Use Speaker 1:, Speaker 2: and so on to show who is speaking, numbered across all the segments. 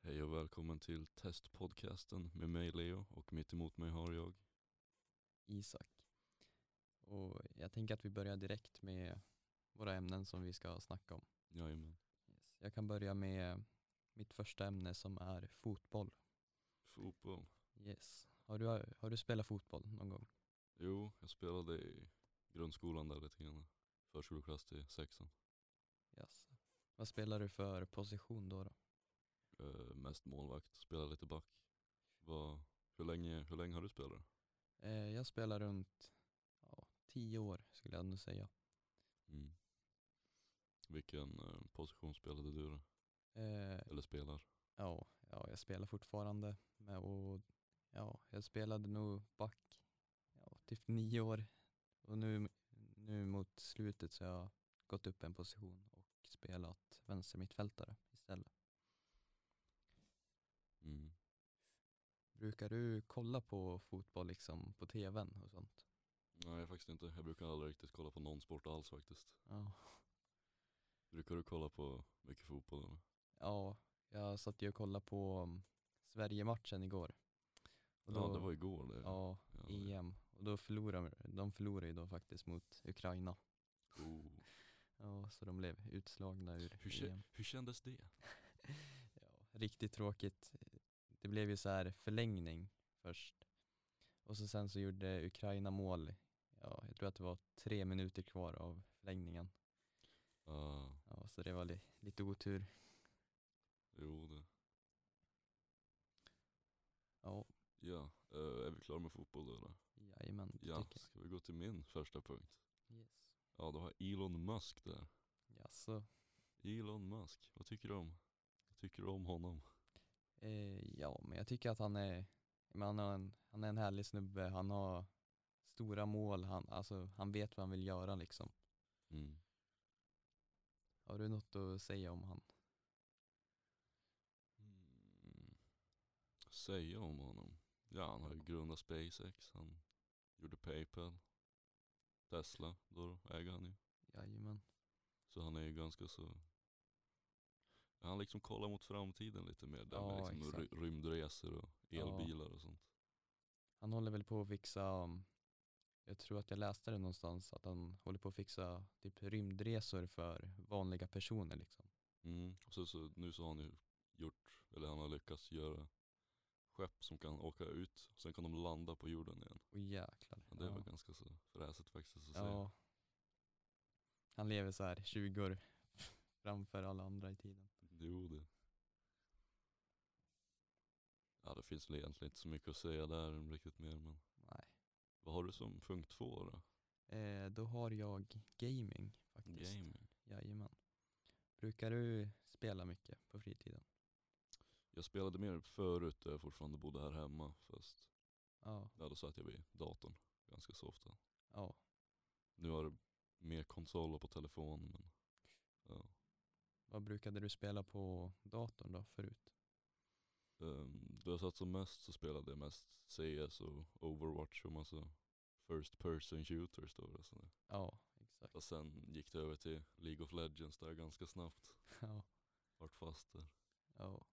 Speaker 1: Hej och välkommen till testpodcasten med mig Leo och mitt emot mig har jag.
Speaker 2: Isak. Och jag tänker att vi börjar direkt med våra ämnen som vi ska snacka om.
Speaker 1: Jajamän.
Speaker 2: Yes. Jag kan börja med mitt första ämne som är fotboll.
Speaker 1: Fotboll.
Speaker 2: Yes. Har du, har du spelat fotboll någon gång?
Speaker 1: Jo, jag spelade i grundskolan där lite grann. Förskoleklass till sexan.
Speaker 2: Yes. Vad spelar du för position då? då?
Speaker 1: Eh, mest målvakt, spelade lite back. Vad- hur, länge, hur länge har du spelat?
Speaker 2: Eh, jag spelar runt ja, tio år skulle jag nog säga.
Speaker 1: Mm. Vilken eh, position spelade du då?
Speaker 2: Eh,
Speaker 1: Eller spelar?
Speaker 2: ja, ja, jag spelar fortfarande. Med, och, ja, jag spelade nog back ja, typ nio år. Och nu, nu mot slutet så har jag gått upp en position och spelat vänstermittfältare istället.
Speaker 1: Mm.
Speaker 2: Brukar du kolla på fotboll liksom på tvn och sånt?
Speaker 1: Nej faktiskt inte. Jag brukar aldrig riktigt kolla på någon sport alls faktiskt.
Speaker 2: Ja.
Speaker 1: Brukar du kolla på mycket fotboll eller?
Speaker 2: Ja, jag satt ju och kollade på um, Sverige-matchen igår. Och
Speaker 1: Ja
Speaker 2: då-
Speaker 1: det var igår det.
Speaker 2: Ja,
Speaker 1: Ja, det-
Speaker 2: EM. Och då förlorade de förlorade ju då faktiskt mot Ukraina.
Speaker 1: Oh.
Speaker 2: Ja, så de blev utslagna ur
Speaker 1: Hur, kä-
Speaker 2: EM.
Speaker 1: hur kändes det?
Speaker 2: Ja, riktigt tråkigt. Det blev ju så här förlängning först. Och så sen så gjorde Ukraina mål. Ja, jag tror att det var tre minuter kvar av förlängningen.
Speaker 1: Ah,
Speaker 2: Ja, så det var li- lite otur.
Speaker 1: jo det.
Speaker 2: Ja,
Speaker 1: Ja, eh, är vi klara med fotboll då? eller?
Speaker 2: jajamän. det
Speaker 1: Ja,
Speaker 2: tycker
Speaker 1: ska vi gå till min första punkt?
Speaker 2: jag. Yes.
Speaker 1: Ja, då har jag Elon Musk där.
Speaker 2: Jaså.
Speaker 1: Elon Musk, vad tycker du om? Vad tycker du om honom?
Speaker 2: Eh, ja, men jag tycker att han är, men han, har en, han är en härlig snubbe. Han har stora mål. Han, alltså, han vet vad han vill göra liksom.
Speaker 1: Mm.
Speaker 2: Har du något att säga om han?
Speaker 1: Mm. Säga om honom? Ja, han har ju grundat SpaceX, han gjorde Paypal, Tesla, då äger han ju.
Speaker 2: Jajamän.
Speaker 1: Så han är ju ganska så han liksom kollar mot framtiden lite mer där
Speaker 2: Ja,
Speaker 1: med liksom ry-
Speaker 2: exakt.
Speaker 1: rymdresor och
Speaker 2: Ja.
Speaker 1: elbilar och sånt.
Speaker 2: Han håller väl på att fixa, um, jag tror att jag läste det någonstans, att han håller på att fixa typ rymdresor för vanliga personer liksom.
Speaker 1: Mm. Och så, så nu så har han ju gjort, eller han har lyckats göra skepp som kan åka ut, sen kan de landa på jorden igen.
Speaker 2: Och jäklar.
Speaker 1: Ja, det var ganska så fräset faktiskt att säga.
Speaker 2: ja. Han lever så här 20 år framför alla andra i tiden.
Speaker 1: Jo det. Ja det finns väl egentligen inte så mycket att säga där riktigt mer men.
Speaker 2: Nej.
Speaker 1: Vad har du som punkt två då?
Speaker 2: Eh, då har jag gaming faktiskt.
Speaker 1: Gaming.
Speaker 2: Jajamän. Brukar du spela mycket på fritiden?
Speaker 1: Jag spelade mer förut där jag fortfarande bodde här hemma fast
Speaker 2: Ja.
Speaker 1: ja, då satt jag vid datorn ganska så ofta.
Speaker 2: Ja.
Speaker 1: Nu har jag mer konsoler på telefon men ja.
Speaker 2: Vad brukade du spela på datorn då förut?
Speaker 1: Um, då jag satt som mest så spelade jag mest CS och Overwatch och massa First person shooters då. och sådär.
Speaker 2: Ja, exakt.
Speaker 1: Och sen gick det över till League of Legends där ganska snabbt.
Speaker 2: Ja.
Speaker 1: Vart fast där.
Speaker 2: Ja.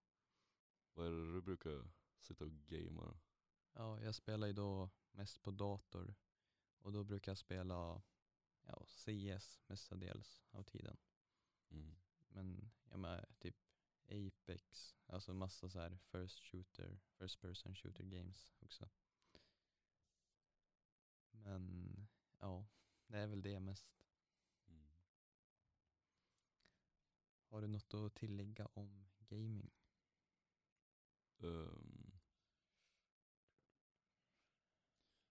Speaker 1: Vad är det du brukar sitta och gamea då?
Speaker 2: ja, jag spelar ju då mest på dator och då brukar jag spela ja, CS mestadels av tiden.
Speaker 1: Mm.
Speaker 2: Men jag med typ Apex, alltså massa så här first shooter, first person shooter games också. Men ja, det är väl det mest.
Speaker 1: Mm.
Speaker 2: Har du något att tillägga om gaming?
Speaker 1: Um,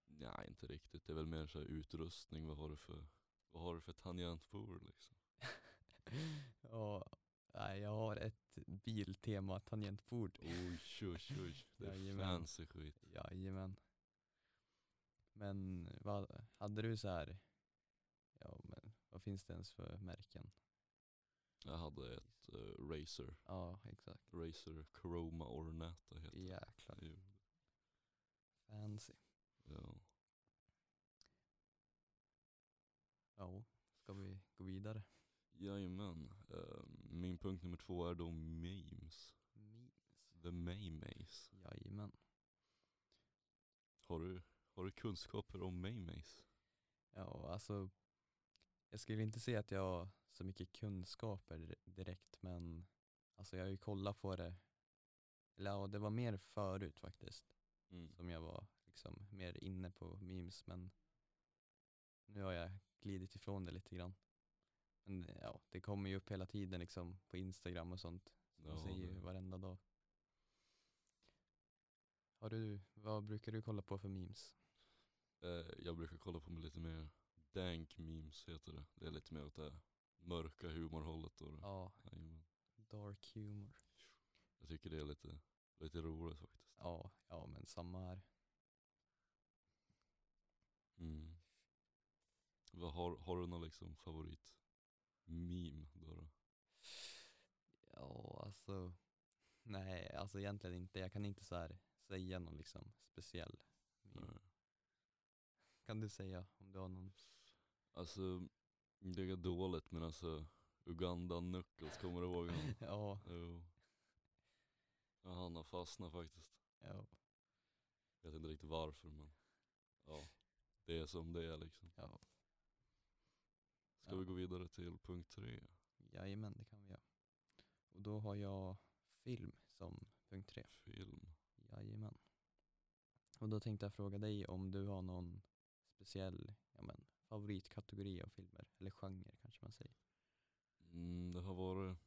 Speaker 1: nej, inte riktigt. Det är väl mer så här utrustning. Vad har du för, vad har du för tangentbord liksom?
Speaker 2: ja, nej, jag har ett biltema tangentbord.
Speaker 1: Oj, oj, oj. Det är
Speaker 2: Jajamän.
Speaker 1: fancy skit.
Speaker 2: Jajamän. Men vad, hade du så här, ja men vad finns det ens för märken?
Speaker 1: Jag hade ett uh, Razer
Speaker 2: Ja, exakt.
Speaker 1: Razer Chroma Ornata heter
Speaker 2: Jäklar,
Speaker 1: det ju.
Speaker 2: fancy.
Speaker 1: Ja.
Speaker 2: Ja, ska vi gå vidare?
Speaker 1: Ehm, Jajamän. Eh, min punkt nummer två är då memes.
Speaker 2: Memes.
Speaker 1: The Maymays.
Speaker 2: Jajamän.
Speaker 1: Har du, har du kunskaper om Maymays?
Speaker 2: Ja, alltså jag skulle inte säga att jag har så mycket kunskaper dir- direkt men alltså jag har ju kollat på det. Eller ja, det var mer förut faktiskt
Speaker 1: Mm.
Speaker 2: som jag var liksom mer inne på memes men nu har jag glidit ifrån det lite grann. Men eh, ja, det kommer ju upp hela tiden liksom på Instagram och sånt. Man
Speaker 1: Ja,
Speaker 2: ser ju
Speaker 1: det-
Speaker 2: varenda dag. Har du, vad brukar du kolla på för memes?
Speaker 1: Eh, jag brukar kolla på mig lite mer dank memes heter det. Det är lite mer åt det mörka humorhållet. Och det.
Speaker 2: Ja,
Speaker 1: Jajamän.
Speaker 2: dark humor.
Speaker 1: Jag tycker det är lite, lite roligt faktiskt.
Speaker 2: Ja, ja men samma här.
Speaker 1: Mm. Vad har, har du någon liksom favorit meme då? då?
Speaker 2: Ja, alltså. Nej, alltså egentligen inte. Jag kan inte så här säga någon liksom speciell. meme.
Speaker 1: Eh,
Speaker 2: Kan du säga om du har någon?
Speaker 1: Alltså, det är dåligt men alltså Uganda Knuckles, kommer du ihåg honom?
Speaker 2: Ja,
Speaker 1: Jo. Ja, han har fastnat faktiskt.
Speaker 2: ja,
Speaker 1: Jag vet inte riktigt varför men ja, det är som det är liksom.
Speaker 2: ja.
Speaker 1: Ska vi gå vidare till punkt tre?
Speaker 2: Jajamän, det kan vi göra. Och då har jag film som punkt tre.
Speaker 1: Film.
Speaker 2: Jajamän. Och då tänkte jag fråga dig om du har någon speciell ja, men, favoritkategori av filmer, eller genre kanske man säger.
Speaker 1: Mm, det har varit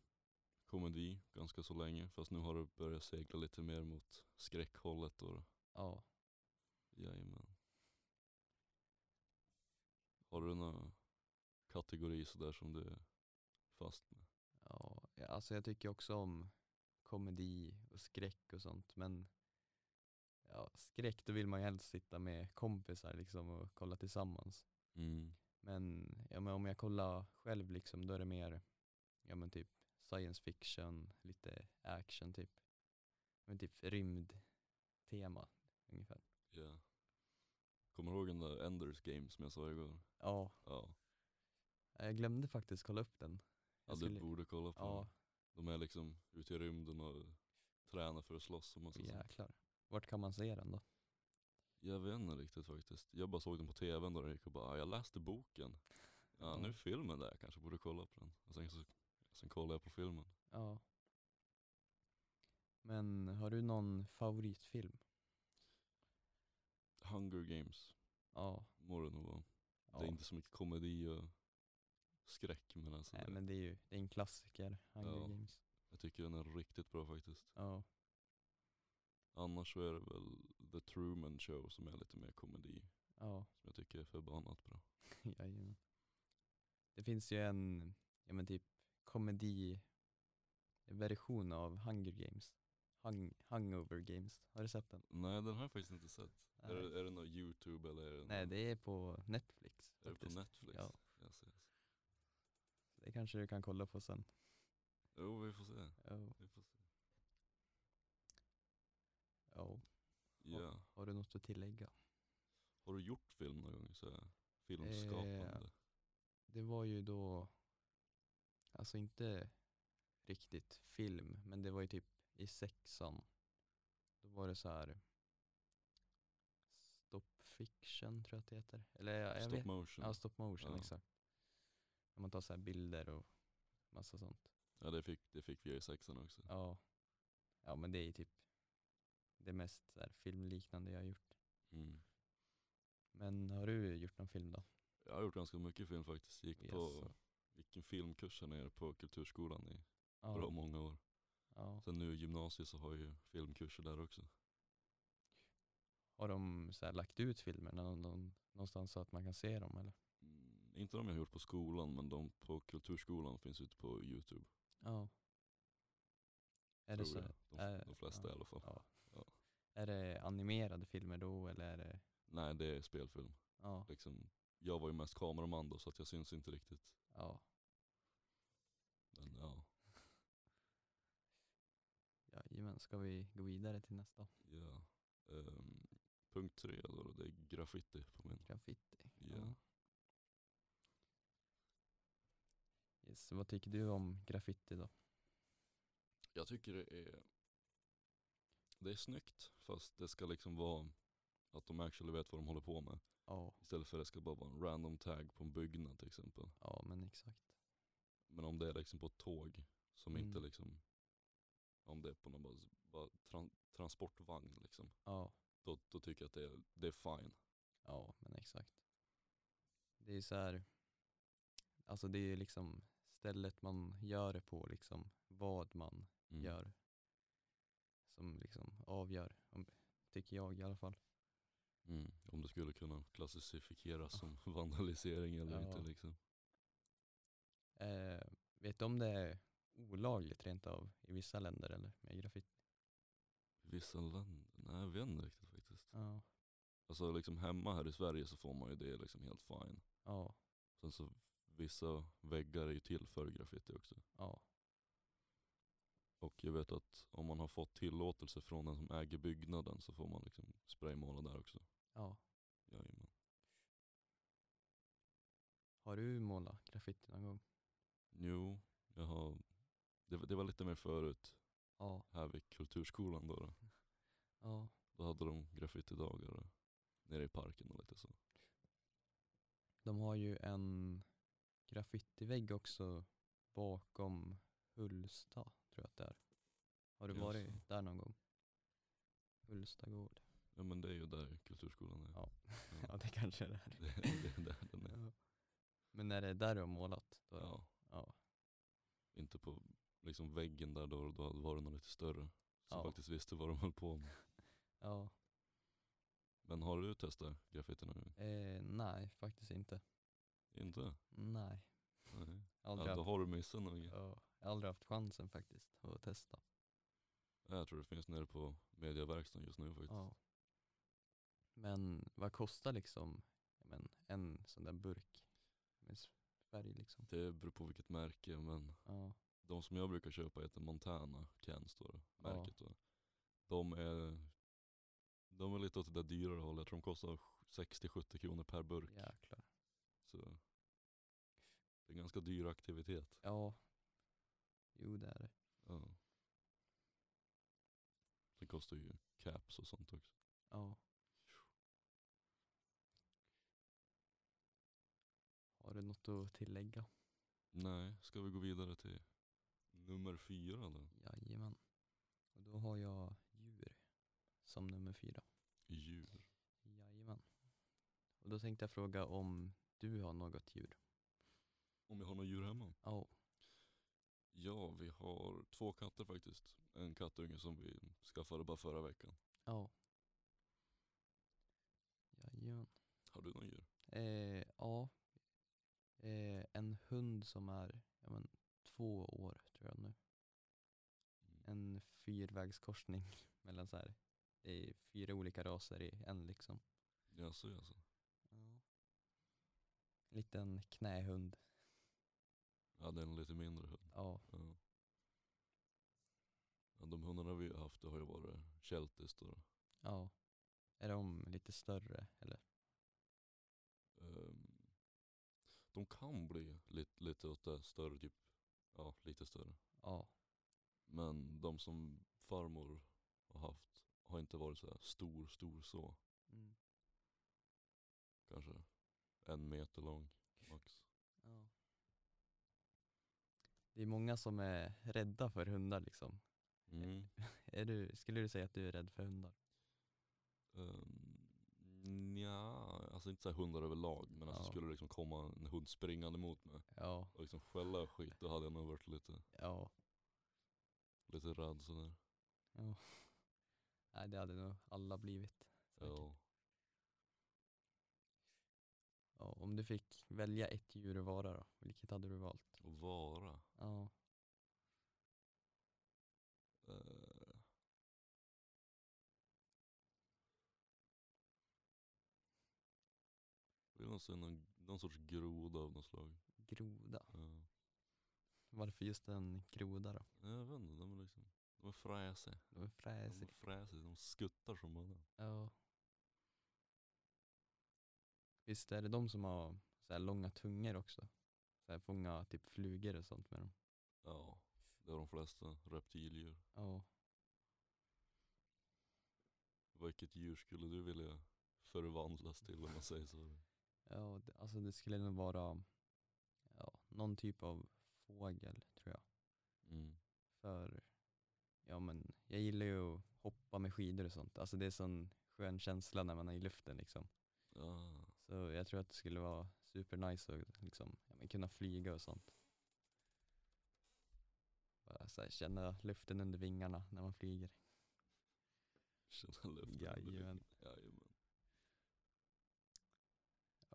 Speaker 1: komedi ganska så länge fast nu har det börjat segla lite mer mot skräckhållet och
Speaker 2: Ja,
Speaker 1: jajamän. Har du någon kategori sådär som du är fast med?
Speaker 2: ja, ja, alltså jag tycker också om komedi och skräck och sånt men ja, skräck då vill man ju helst sitta med kompisar liksom och kolla tillsammans.
Speaker 1: Mm.
Speaker 2: Men, ja, men om jag kollar själv liksom då är det mer ja, men typ science fiction, lite action typ. Men typ rymdtema ungefär.
Speaker 1: Ja. Kommer du ihåg den där Enders Game som jag sa igår?
Speaker 2: Ja,
Speaker 1: Ja.
Speaker 2: jag glömde faktiskt kolla upp den.
Speaker 1: ja
Speaker 2: Jag
Speaker 1: du
Speaker 2: skulle-
Speaker 1: borde kolla på
Speaker 2: Ja,
Speaker 1: den. De är liksom ute i rymden och tränar för att slåss och massa sånt.
Speaker 2: jäklar. Vart kan man se den då?
Speaker 1: Jag vet inte riktigt faktiskt. Jag bara såg den på tvn då den gick och bara, "Ah, jag läste boken. Ja, nu är
Speaker 2: Ja.
Speaker 1: filmen där, jag kanske borde kolla på den. Och sen, så, sen kollade jag på filmen.
Speaker 2: Ja. Men har du någon favoritfilm?
Speaker 1: Hunger Games,
Speaker 2: Ja.
Speaker 1: må det nog vara.
Speaker 2: ja.
Speaker 1: Det är inte så mycket komedi och skräck men alltså,
Speaker 2: Nej
Speaker 1: det-
Speaker 2: men det är ju det är en klassiker, Hunger
Speaker 1: Ja.
Speaker 2: Games.
Speaker 1: jag tycker den är riktigt bra faktiskt.
Speaker 2: Ja.
Speaker 1: Annars så är det väl The Truman Show som är lite mer komedi,
Speaker 2: Ja.
Speaker 1: som jag tycker är förbannat bra.
Speaker 2: Jajamän. Det finns ju en, ja men typ komediversion av Hunger Games. Hung, hungover Games. Har du sett den?
Speaker 1: Nej den har jag faktiskt inte sett. Är
Speaker 2: Nej.
Speaker 1: det, är det någon YouTube eller är det,
Speaker 2: Nej,
Speaker 1: någon,
Speaker 2: det är på Netflix.
Speaker 1: är det på
Speaker 2: faktiskt.
Speaker 1: Netflix?
Speaker 2: Ja.
Speaker 1: Yes, yes.
Speaker 2: Det kanske du kan kolla på sen.
Speaker 1: Jo vi får se.
Speaker 2: Ja.
Speaker 1: Vi får se.
Speaker 2: ja.
Speaker 1: Ja.
Speaker 2: Har du något att tillägga?
Speaker 1: Har du gjort film någon gång? Så här, filmskapande?
Speaker 2: Eh, Det var ju då, alltså inte riktigt film, men det var ju typ i sexan. Då var det så här stop fiction tror jag att det heter. Eller jag, jag
Speaker 1: Stop
Speaker 2: vet,
Speaker 1: motion?
Speaker 2: ja, stop motion
Speaker 1: Ja.
Speaker 2: exakt. När man tar så här bilder och massa sånt.
Speaker 1: Ja det fick, det fick vi i sexan också.
Speaker 2: Ja. ja, men det är ju typ det mest så här filmliknande jag har gjort.
Speaker 1: Mm.
Speaker 2: Men har du gjort någon film då?
Speaker 1: Jag har gjort ganska mycket film faktiskt. Gick på,
Speaker 2: Jaså.
Speaker 1: vilken filmkurs här nere på Kulturskolan i
Speaker 2: Ja.
Speaker 1: bra många år.
Speaker 2: ja.
Speaker 1: Sen nu i gymnasiet så har jag ju filmkurser där också.
Speaker 2: Har de så här lagt ut filmerna nå- nå- någonstans så att man kan se dem eller?
Speaker 1: Mm, inte de jag har gjort på skolan men de på Kulturskolan finns ute på Youtube.
Speaker 2: Ja. Är det, så,
Speaker 1: tror jag. De,
Speaker 2: är-
Speaker 1: de flesta
Speaker 2: ja.
Speaker 1: i alla fall.
Speaker 2: ja.
Speaker 1: Ja.
Speaker 2: är det animerade filmer då eller är det,
Speaker 1: Nej det är spelfilm.
Speaker 2: ja,
Speaker 1: Liksom, jag var ju mest kameraman då så att jag syns inte riktigt.
Speaker 2: ja,
Speaker 1: Men ja,
Speaker 2: jajamän, ska vi gå vidare till nästa?
Speaker 1: ja. Ehm, punkt tre då, det är graffiti på min.
Speaker 2: Graffiti.
Speaker 1: Ja.
Speaker 2: Yes, vad tycker du om graffiti då?
Speaker 1: Jag tycker det är det är snyggt fast det ska liksom vara att de actually vet vad de håller på med.
Speaker 2: Ja,
Speaker 1: Istället för att det ska bara vara en random tag på en byggnad till exempel.
Speaker 2: ja men exakt.
Speaker 1: Men om det är liksom på ett tåg som inte
Speaker 2: Mm.
Speaker 1: liksom, om det är på någon bara, bara tran, transportvagn liksom.
Speaker 2: Ja,
Speaker 1: Då, då tycker jag att det är, det är fine.
Speaker 2: ja men exakt. Det är ju så här, alltså det är ju liksom stället man gör det på liksom, vad man
Speaker 1: Mm.
Speaker 2: gör. Som liksom avgör, om, tycker jag i alla fall.
Speaker 1: Mm. Om det skulle kunna klassificeras som vandalisering eller
Speaker 2: Ah. Ja.
Speaker 1: inte liksom.
Speaker 2: Eh, vet du om det är olagligt rent av i vissa länder eller med graffiti?
Speaker 1: Vissa länder, nej jag vet inte riktigt faktiskt.
Speaker 2: Ja.
Speaker 1: Alltså liksom hemma här i Sverige så får man ju det liksom helt fine.
Speaker 2: Ja,
Speaker 1: Sen så vissa väggar är ju till för graffiti också.
Speaker 2: ja,
Speaker 1: Och jag vet att om man har fått tillåtelse från den som äger byggnaden så får man liksom spraymåla där också.
Speaker 2: ja.
Speaker 1: Jajamän.
Speaker 2: Har du målat graffiti någon gång?
Speaker 1: Jo, jag har, det, var- det var lite mer förut
Speaker 2: Ja,
Speaker 1: här vid kulturskolan då. Då,
Speaker 2: ja.
Speaker 1: då hade de graffitidagar och- nere i parken och lite så.
Speaker 2: De har ju en graffitivägg också bakom Hulsta, tror jag att det är. Har du varit
Speaker 1: Jaså.
Speaker 2: där någon gång? Hulstagård.
Speaker 1: Ja men det är ju där kulturskolan är.
Speaker 2: Ja. Ja, det kanske det är.
Speaker 1: Det, det är där den är.
Speaker 2: Ja. Men är det där du har målat? Då är det-
Speaker 1: Ja,
Speaker 2: ja.
Speaker 1: inte på liksom väggen där då, då var det något lite större. Som
Speaker 2: Ja.
Speaker 1: faktiskt visste vad de höll på med.
Speaker 2: Ja.
Speaker 1: Men har du testat graffiti någon gång?
Speaker 2: Eh, nej, faktiskt inte.
Speaker 1: Inte?
Speaker 2: Nej.
Speaker 1: Nej.
Speaker 2: Aldrig,
Speaker 1: Ja, då
Speaker 2: haft,
Speaker 1: har du missat något.
Speaker 2: ja, aldrig haft chansen faktiskt att testa.
Speaker 1: Ja, Jag tror det finns nere på mediaverkstan just nu faktiskt.
Speaker 2: Ja. Men vad kostar liksom ja, men, en sån där burk med s- färg liksom?
Speaker 1: Det beror på vilket märke men
Speaker 2: Ja,
Speaker 1: de som jag brukar köpa heter Montana Ken står det,
Speaker 2: Ja.
Speaker 1: märket då. De är, de är lite åt det där dyrare hållet, jag tror de kostar 60-70 kronor per burk.
Speaker 2: jäklar.
Speaker 1: Så det är en ganska dyr aktivitet.
Speaker 2: Ja, jo det är det.
Speaker 1: Ja. Det kostar ju caps och sånt också.
Speaker 2: Ja. Har du något att tillägga?
Speaker 1: Nej, ska vi gå vidare till nummer fyra då?
Speaker 2: Jajamän. Och då har jag djur som nummer fyra.
Speaker 1: Djur.
Speaker 2: Jajamän. Och då tänkte jag fråga om du har något djur?
Speaker 1: Om jag har några djur hemma?
Speaker 2: Ja.
Speaker 1: Ja, vi har två katter faktiskt. En kattunge som vi skaffade bara förra veckan.
Speaker 2: Ja. Jajamän.
Speaker 1: Har du några djur?
Speaker 2: Eh, ja. Eh, en hund som är ja, men, två år tror jag nu. En fyrvägskorsning mellan så här, eh, fyra olika raser i en liksom.
Speaker 1: Jaså, jaså.
Speaker 2: En liten knähund.
Speaker 1: Ja, det är en lite mindre hund.
Speaker 2: Ja,
Speaker 1: Ja. Ja, de hundarna vi har haft det har ju varit keltis då.
Speaker 2: ja. Är de lite större eller?
Speaker 1: Ehm, de kan bli lite, lite åt det större, typ. Ja, lite större.
Speaker 2: Ja,
Speaker 1: Men de som farmor har haft har inte varit så här stor, stor så.
Speaker 2: mm.
Speaker 1: Kanske en meter lång max.
Speaker 2: ja. Det är många som är rädda för hundar liksom.
Speaker 1: Mm.
Speaker 2: Är du, skulle du säga att du är rädd för hundar?
Speaker 1: Um, ja, alltså inte så här hundar överlag men alltså
Speaker 2: Ja.
Speaker 1: skulle det liksom komma en hund springande mot mig
Speaker 2: Ja,
Speaker 1: och liksom skälla och skit då hade jag nog varit lite,
Speaker 2: ja.
Speaker 1: lite rädd sådär.
Speaker 2: ja. Nej, det hade nog alla blivit. säkert.
Speaker 1: Ja.
Speaker 2: Ja, om du fick välja ett djur att vara då, vilket hade du valt?
Speaker 1: Och vara.
Speaker 2: Ja,
Speaker 1: eh. Vill nog se någon, någon sorts groda av något slag.
Speaker 2: groda.
Speaker 1: Ja.
Speaker 2: Varför just en groda då?
Speaker 1: Jag vet inte, de är liksom, de är fräsiga.
Speaker 2: De är
Speaker 1: De är
Speaker 2: fräsiga.
Speaker 1: fräsiga, de skuttar som bara den.
Speaker 2: Ja. Visst är det de som har så här långa tungor också? Så här fånga typ flugor och sånt med dem.
Speaker 1: Ja, det är de flesta reptildjur.
Speaker 2: Ja.
Speaker 1: Vilket djur skulle du vilja förvandlas till om man säger så?
Speaker 2: Ja, det, alltså det skulle nog vara ja, någon typ av fågel tror jag.
Speaker 1: Mm.
Speaker 2: För ja, men jag gillar ju att hoppa med skidor och sånt. Alltså det är sån skön känsla när man är i luften liksom.
Speaker 1: Ah,
Speaker 2: Så jag tror att det skulle vara supernice att liksom, ja, men kunna flyga och sånt. Bara så här, känna luften under vingarna när man flyger.
Speaker 1: känna luften. under dig.
Speaker 2: Jajamän.
Speaker 1: Jajamän.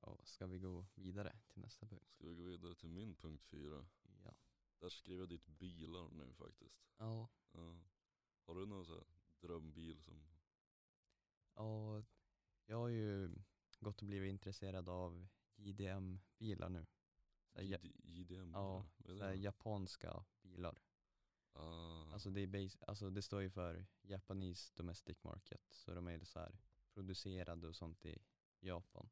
Speaker 2: Ja, ska vi gå vidare till nästa punkt?
Speaker 1: Ska vi gå vidare till min punkt fyra?
Speaker 2: Ja.
Speaker 1: Där skriver jag ditt bilar nu faktiskt.
Speaker 2: Ja,
Speaker 1: Ja. Har du någon så här drömbil som,
Speaker 2: ja jag har ju gått och blivit intresserad av JDM-bilar nu. Så här, ja,
Speaker 1: JD, JDM?
Speaker 2: ja,
Speaker 1: eller? Vad är
Speaker 2: så
Speaker 1: det?
Speaker 2: här, japanska bilar.
Speaker 1: ah,
Speaker 2: Alltså det, är bas- alltså det står ju för Japanese Domestic Market, så de är ju så här producerade och sånt i Japan.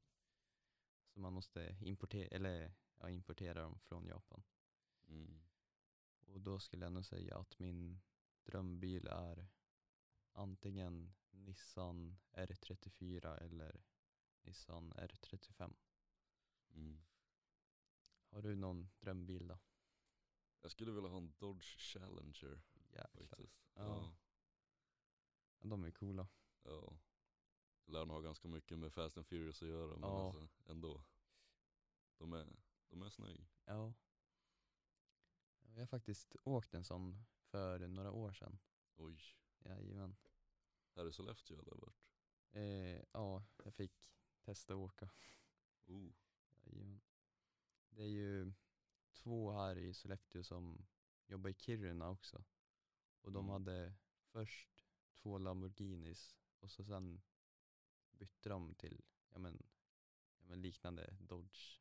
Speaker 2: Så man måste importera, eller ja, importera dem från Japan.
Speaker 1: mm.
Speaker 2: Och då skulle jag nog säga att min drömbil är antingen Nissan R34 eller Nissan R35.
Speaker 1: Mm.
Speaker 2: Har du någon drömbil då?
Speaker 1: Jag skulle vilja ha en Dodge Challenger
Speaker 2: Jäklar.
Speaker 1: faktiskt.
Speaker 2: Ja. Ja, de är coola.
Speaker 1: Ja. ja. Lär nog ha ganska mycket med Fast and Furious att göra men
Speaker 2: Ja.
Speaker 1: alltså, ändå. De är, de är snygga.
Speaker 2: Ja. Jag har faktiskt åkt en sån för några år sedan.
Speaker 1: Oj.
Speaker 2: Jajamän.
Speaker 1: Här i Sollefteå eller vart?
Speaker 2: Eh, ja, jag fick testa att åka.
Speaker 1: Oh.
Speaker 2: Jajamän. Det är ju två här i Sollefteå som jobbar i Kiruna också. Och de
Speaker 1: Mm.
Speaker 2: hade först två Lamborghinis och så sen bytte de till ja men, ja men liknande Dodge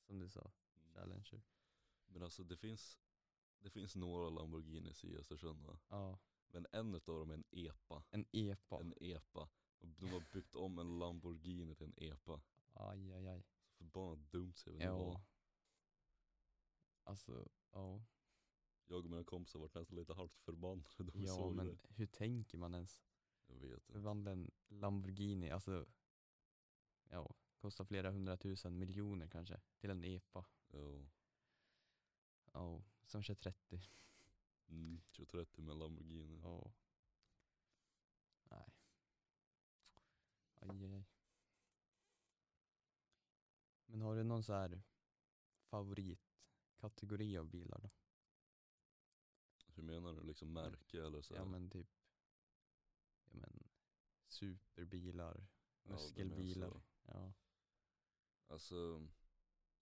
Speaker 2: som du sa, Challenger.
Speaker 1: Men alltså det finns, det finns några Lamborghinis i Östersund va?
Speaker 2: Ja,
Speaker 1: Men en utav dem är en E EPA.
Speaker 2: en EPA.
Speaker 1: En EPA. Och de har byggt om en Lamborghini till en EPA.
Speaker 2: Aj, aj, aj.
Speaker 1: Så förbannat dumt ser vi
Speaker 2: Ja. Alltså, ja.
Speaker 1: Jag och mina kompisar vart nästan lite halvt förbannade då vi
Speaker 2: Ja
Speaker 1: såg
Speaker 2: men
Speaker 1: det.
Speaker 2: hur tänker man ens?
Speaker 1: Jag vet inte.
Speaker 2: Förvandla en Lamborghini, alltså ja, kostar flera hundratusen miljoner kanske till en EPA.
Speaker 1: Ja.
Speaker 2: Ja, som kör 30.
Speaker 1: Mm, 2030 med en Lamborghini.
Speaker 2: Ja. Nej. Aj, aj, aj. Men har du någon så här favoritkategori av bilar då?
Speaker 1: Hur menar du? Liksom märke eller så?
Speaker 2: Ja
Speaker 1: här?
Speaker 2: men typ, ja men superbilar,
Speaker 1: Ja, det
Speaker 2: muskelbilar.
Speaker 1: menar
Speaker 2: Ja,
Speaker 1: jag. Alltså,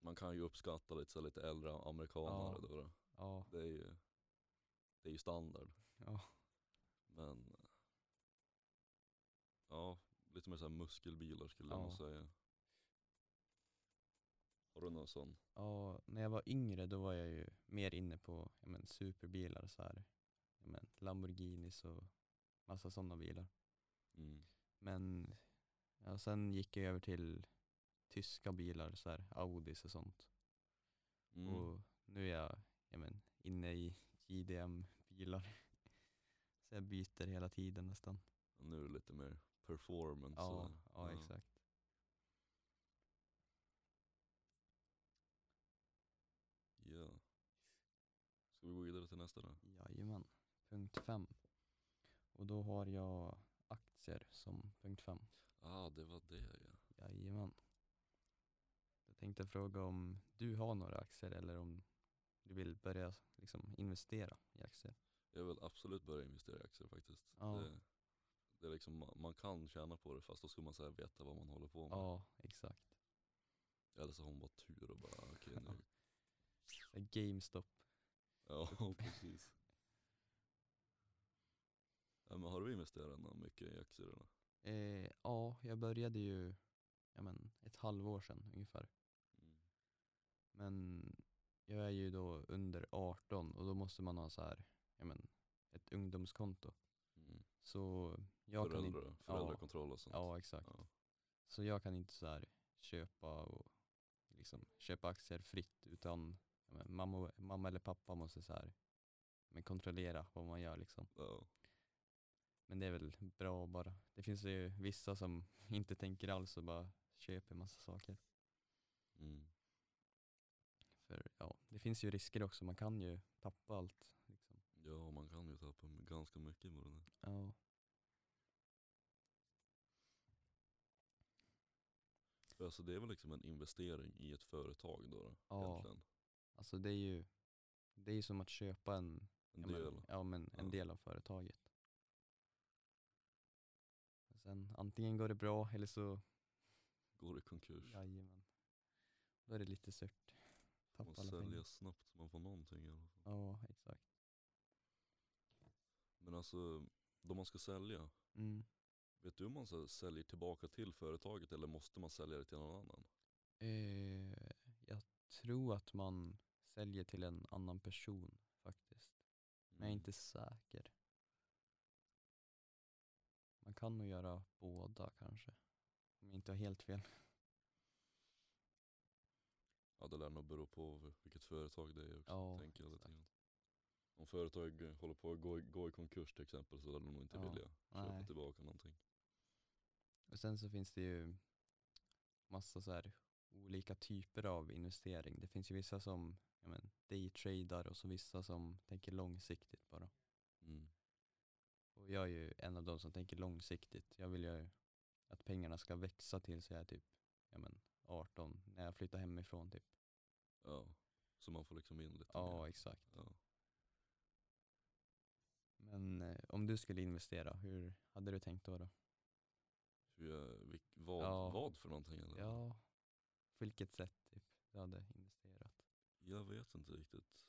Speaker 1: man kan ju uppskatta lite så här lite äldre amerikanare då.
Speaker 2: Ja.
Speaker 1: då.
Speaker 2: ja,
Speaker 1: Det är ju, det är ju standard.
Speaker 2: ja.
Speaker 1: Men eh, ja, lite mer så här muskelbilar skulle jag
Speaker 2: Ja.
Speaker 1: nog säga. Har du någon sån?
Speaker 2: Ja, när jag var yngre då var jag ju mer inne på ja, men, superbilar och så här. Ja, men, Lamborghinis och massa sådana bilar.
Speaker 1: Mm.
Speaker 2: Men ja, sen gick jag över till tyska bilar, så här, Audis och sånt.
Speaker 1: Mm.
Speaker 2: Och nu är jag ja, men, inne i JDM-bilar. Så jag byter hela tiden nästan.
Speaker 1: Och nu är det lite mer performance.
Speaker 2: Ja,
Speaker 1: sådär.
Speaker 2: ja, exakt.
Speaker 1: Ja. Ska vi gå vidare till nästa då?
Speaker 2: Jajamän. Punkt fem. Och då har jag aktier som punkt fem.
Speaker 1: Ah, det var det ja.
Speaker 2: Jajamän. Jag tänkte fråga om du har några aktier eller om du vill börja liksom investera i aktier.
Speaker 1: Jag vill absolut börja investera i aktier faktiskt.
Speaker 2: Ja.
Speaker 1: Det, det är liksom, ma- man kan tjäna på det fast då ska man så här veta vad man håller på med.
Speaker 2: Ja, exakt.
Speaker 1: Eller så har man bara tur och bara okej nu.
Speaker 2: Så här GameStop. Typ.
Speaker 1: Ja, precis. Ja, men har du investerat nå- mycket i aktier? Eller?
Speaker 2: Eh, ja, jag började ju ja, men, ett halvår sedan ungefär.
Speaker 1: Mm.
Speaker 2: Men jag är ju då under 18 och då måste man ha så här, ja, men, ett ungdomskonto.
Speaker 1: Mm.
Speaker 2: Så jag kan inte...
Speaker 1: Föräldrar, föräldrakontroll och sånt?
Speaker 2: Ja, exakt.
Speaker 1: Ja.
Speaker 2: Så jag kan inte så här köpa och liksom köpa aktier fritt utan ja, men mamma, mamma eller pappa måste så här men kontrollera vad man gör liksom.
Speaker 1: Ja.
Speaker 2: Men det är väl bra att bara. Det finns ju vissa som inte tänker alls och bara köper massa saker.
Speaker 1: Mm.
Speaker 2: För ja, det finns ju risker också. Man kan ju tappa allt. Liksom.
Speaker 1: Ja, man kan ju tappa m- ganska mycket på den här.
Speaker 2: Ja.
Speaker 1: För Alltså det är väl liksom en investering i ett företag då, då
Speaker 2: Ja,
Speaker 1: egentligen.
Speaker 2: Alltså det är ju det är ju som att köpa en,
Speaker 1: En
Speaker 2: ja,
Speaker 1: del.
Speaker 2: Men, ja, men en
Speaker 1: Ja.
Speaker 2: del av företaget. Och sen antingen går det bra eller så,
Speaker 1: Går i konkurs.
Speaker 2: jajamän. Då är det lite surt. Tappa
Speaker 1: Man
Speaker 2: alla pengar.
Speaker 1: säljer snabbt så man får någonting i alla fall.
Speaker 2: Ja, exakt.
Speaker 1: Men alltså, då man ska sälja,
Speaker 2: Mm.
Speaker 1: vet du om man så här säljer tillbaka till företaget eller måste man sälja det till någon annan?
Speaker 2: Eh, jag tror att man säljer till en annan person faktiskt. Men jag är
Speaker 1: Mm.
Speaker 2: inte säker. Man kan nog göra båda kanske. Om jag inte har helt fel.
Speaker 1: Ja det lär nog bero på v- vilket företag det är också,
Speaker 2: Ja,
Speaker 1: tänker jag lite
Speaker 2: exakt.
Speaker 1: grann. Om företag eh, håller på att gå, i- gå i konkurs till exempel så lär de nog inte
Speaker 2: Ja,
Speaker 1: vilja köpa
Speaker 2: nej.
Speaker 1: tillbaka någonting.
Speaker 2: Och sen så finns det ju massa så här olika typer av investering. Det finns ju vissa som ja men, daytradar och så vissa som tänker långsiktigt bara.
Speaker 1: Mm.
Speaker 2: Och jag är ju en av de som tänker långsiktigt. Jag vill ju att pengarna ska växa tills jag är typ ja men, 18, när jag flyttar hemifrån typ.
Speaker 1: Ja. Så man får liksom in lite
Speaker 2: Ja,
Speaker 1: mer.
Speaker 2: exakt.
Speaker 1: Ja.
Speaker 2: Men eh, om du skulle investera, hur hade du tänkt då? då?
Speaker 1: Hur jag, vilk, vad,
Speaker 2: Ja.
Speaker 1: vad för någonting eller?
Speaker 2: Ja, på vilket sätt typ, du hade investerat?
Speaker 1: Jag vet inte riktigt.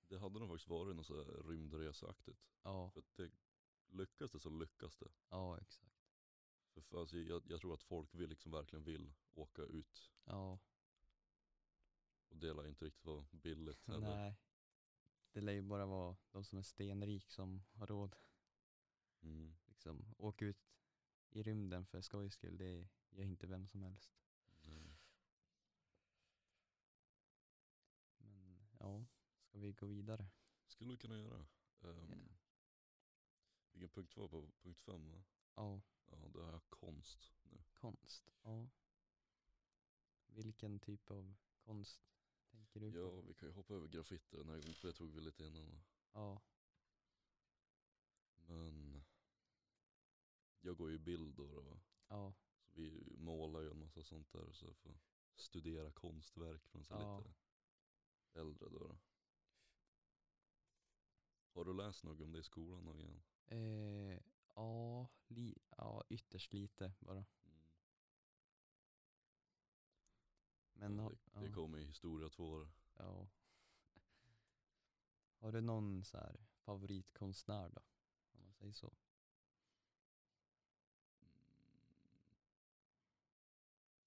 Speaker 1: Det hade nog faktiskt varit något så här rymdreseaktigt.
Speaker 2: Ja,
Speaker 1: För att det, lyckas det så lyckas det.
Speaker 2: ja exakt.
Speaker 1: För, för alltså, jag, jag tror att folk vill liksom verkligen vill åka ut.
Speaker 2: Ja,
Speaker 1: Och det lär inte riktigt vara billigt heller.
Speaker 2: nej. Det lär ju bara vara de som är stenrik som har råd.
Speaker 1: Mm.
Speaker 2: Liksom, åka ut i rymden för skojs skull, det gör inte vem som helst.
Speaker 1: Nej.
Speaker 2: Men ja, ska vi gå vidare?
Speaker 1: Skulle vi kunna göra. Um, Vilken punkt var på punkt fem va?
Speaker 2: Ja,
Speaker 1: Ja, då har jag konst nu.
Speaker 2: konst. Ja. Vilken typ av konst tänker du på?
Speaker 1: Ja, vi kan ju hoppa över graffiti den här gången för det tog vi lite innan. va?
Speaker 2: Ja,
Speaker 1: Men jag går ju i bild då. då va?
Speaker 2: ja,
Speaker 1: Så vi målar ju en massa sånt där och så får studera konstverk från så här
Speaker 2: Ja.
Speaker 1: lite äldre då, då. Har du läst något om det i skolan någon gång?
Speaker 2: eh, ja, li- ja, ytterst lite bara.
Speaker 1: Mm.
Speaker 2: Men
Speaker 1: Ja,
Speaker 2: har-
Speaker 1: det, det
Speaker 2: ja.
Speaker 1: kommer i historia två år.
Speaker 2: Ja. Har du någon så här favoritkonstnär då? Om man säger så.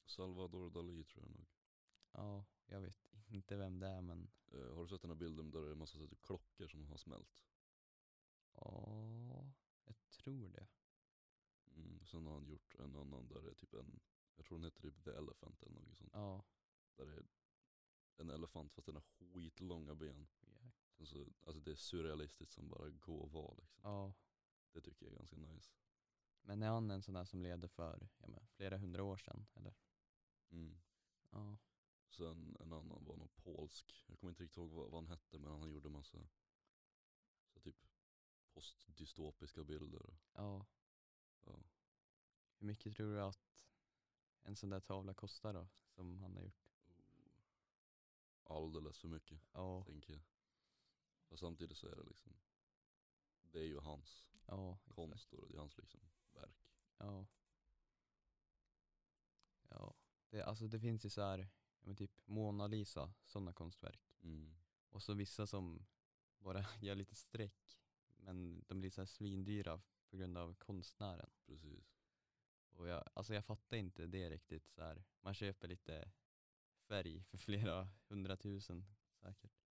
Speaker 1: Salvador Dalí tror jag nog.
Speaker 2: Ja, jag vet inte vem det är men
Speaker 1: Eh, har du sett den här bilden där det är en massa så här typ klockor som har smält?
Speaker 2: ja, jag tror det.
Speaker 1: Mm. Sen har han gjort en annan där det är typ en, jag tror den heter typ The Elephant eller något sånt.
Speaker 2: Ja,
Speaker 1: Där det är en elefant fast den har skitlånga ben.
Speaker 2: jäk-
Speaker 1: Sen så, alltså det är surrealistiskt som bara går och var liksom.
Speaker 2: ja.
Speaker 1: Det tycker jag är ganska nice.
Speaker 2: Men är han en sån där som levde för ja, men, flera hundra år sedan eller?
Speaker 1: Mm.
Speaker 2: Ja,
Speaker 1: Sen en annan var någon polsk, jag kommer inte riktigt ihåg vad, vad han hette men han gjorde massa så typ postdystopiska bilder. och-
Speaker 2: ja.
Speaker 1: Ja.
Speaker 2: Hur mycket tror du att en sån där tavla kostar då? Som han har gjort?
Speaker 1: Alldeles för mycket
Speaker 2: Ja,
Speaker 1: tänker jag. Fast samtidigt så är det liksom, det är ju hans
Speaker 2: ja. exakt.
Speaker 1: konst och det är hans liksom verk.
Speaker 2: Ja. Ja. Det, alltså det finns ju så här, ja, men typ Mona Lisa, sådana konstverk.
Speaker 1: Mm.
Speaker 2: Och så vissa som bara gör lite streck, men de blir så här svindyra på grund av konstnären.
Speaker 1: Precis.
Speaker 2: Och jag, alltså jag fattar inte det riktigt så här. Man köper lite färg för flera hundratusen säkert.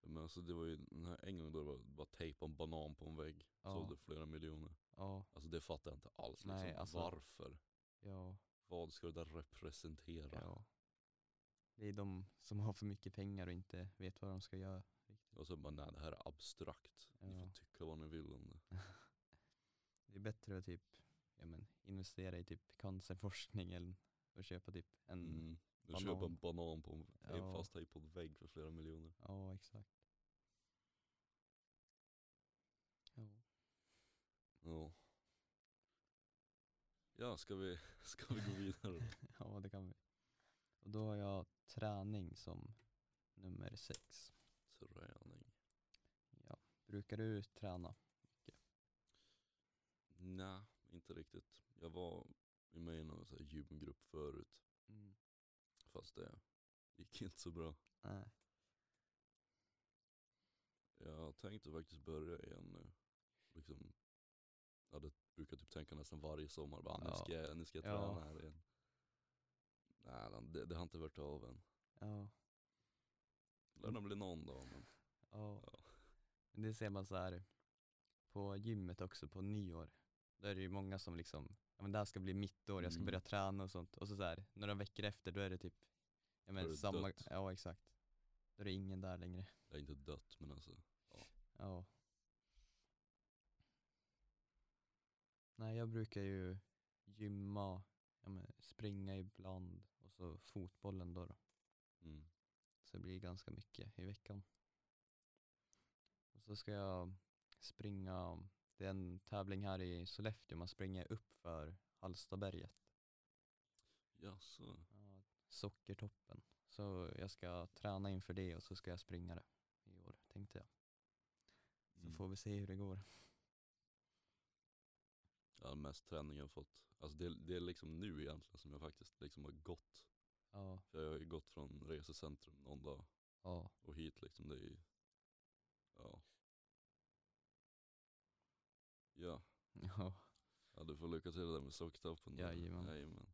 Speaker 1: Men alltså det var ju den här en gång då det var bara tejpa en banan på en vägg.
Speaker 2: Ja.
Speaker 1: Sålde flera miljoner.
Speaker 2: Ja,
Speaker 1: Alltså det fattar jag inte alls liksom.
Speaker 2: Nej, alltså-
Speaker 1: Varför?
Speaker 2: ja,
Speaker 1: Vad ska det där representera?
Speaker 2: ja. Det är de som har för mycket pengar och inte vet vad de ska göra.
Speaker 1: Och så bara nej det här är abstrakt. Ni
Speaker 2: Ja.
Speaker 1: får tycka vad ni vill om det.
Speaker 2: det är bättre att typ, ja, men, investera i typ cancerforskning än att köpa typ en,
Speaker 1: Mm. Du köper en
Speaker 2: banan.
Speaker 1: banan på en
Speaker 2: Ja.
Speaker 1: fast tejp på en vägg för flera miljoner.
Speaker 2: ja exakt. Ja.
Speaker 1: Ja. Ja, ska vi, ska vi gå vidare? då?
Speaker 2: ja, det kan vi. Och då har jag träning som nummer sex.
Speaker 1: Träning.
Speaker 2: Ja. Brukar du träna?
Speaker 1: Nej, inte riktigt. Jag var med i någon så här gymgrupp förut,
Speaker 2: Mm.
Speaker 1: fast det gick inte så bra.
Speaker 2: Nej.
Speaker 1: Jag tänkte faktiskt börja igen nu. Liksom, ja, det brukar jag typ tänka nästan varje sommar, bara, "Ah, nu,
Speaker 2: Ja.
Speaker 1: ska jag, nu ska jag
Speaker 2: Ja.
Speaker 1: träna här igen. Nej, det, det har inte varit av än.
Speaker 2: Ja.
Speaker 1: Lär det bli någon dag, men
Speaker 2: ja.
Speaker 1: Ja.
Speaker 2: Men Det ser man så här på gymmet också på nyår. Där är det ju många som liksom, ja men det här ska bli mitt år, jag ska
Speaker 1: Mm.
Speaker 2: börja träna och sånt. Och så, så här, några veckor efter då är det typ, ja
Speaker 1: är
Speaker 2: men
Speaker 1: det
Speaker 2: samma,
Speaker 1: dött.
Speaker 2: ja exakt. Då är det ingen där längre.
Speaker 1: jag är inte dött. Men alltså,
Speaker 2: Ja. Nej, jag brukar ju gymma, ja, men springa ibland och så fotbollen då, då.
Speaker 1: mm.
Speaker 2: Så det blir ganska mycket i veckan. Och så ska jag springa, det är en tävling här i Sollefteå, man springer upp för Hallstaberget,
Speaker 1: Jaså,
Speaker 2: ja, Sockertoppen. Så jag ska träna inför det och så ska jag springa det i år, tänkte jag. Så
Speaker 1: Mm.
Speaker 2: får vi se hur det går.
Speaker 1: Ja, mest träning jag har fått. Alltså det, det är liksom nu egentligen som jag faktiskt liksom har gått.
Speaker 2: Ja,
Speaker 1: För jag har ju gått från resecentrum någon dag
Speaker 2: ja,
Speaker 1: och hit liksom. Det är ju, ja. Ja,
Speaker 2: ja.
Speaker 1: ja du får lycka till det där med socktappen.
Speaker 2: Jajamän.
Speaker 1: Jajamän.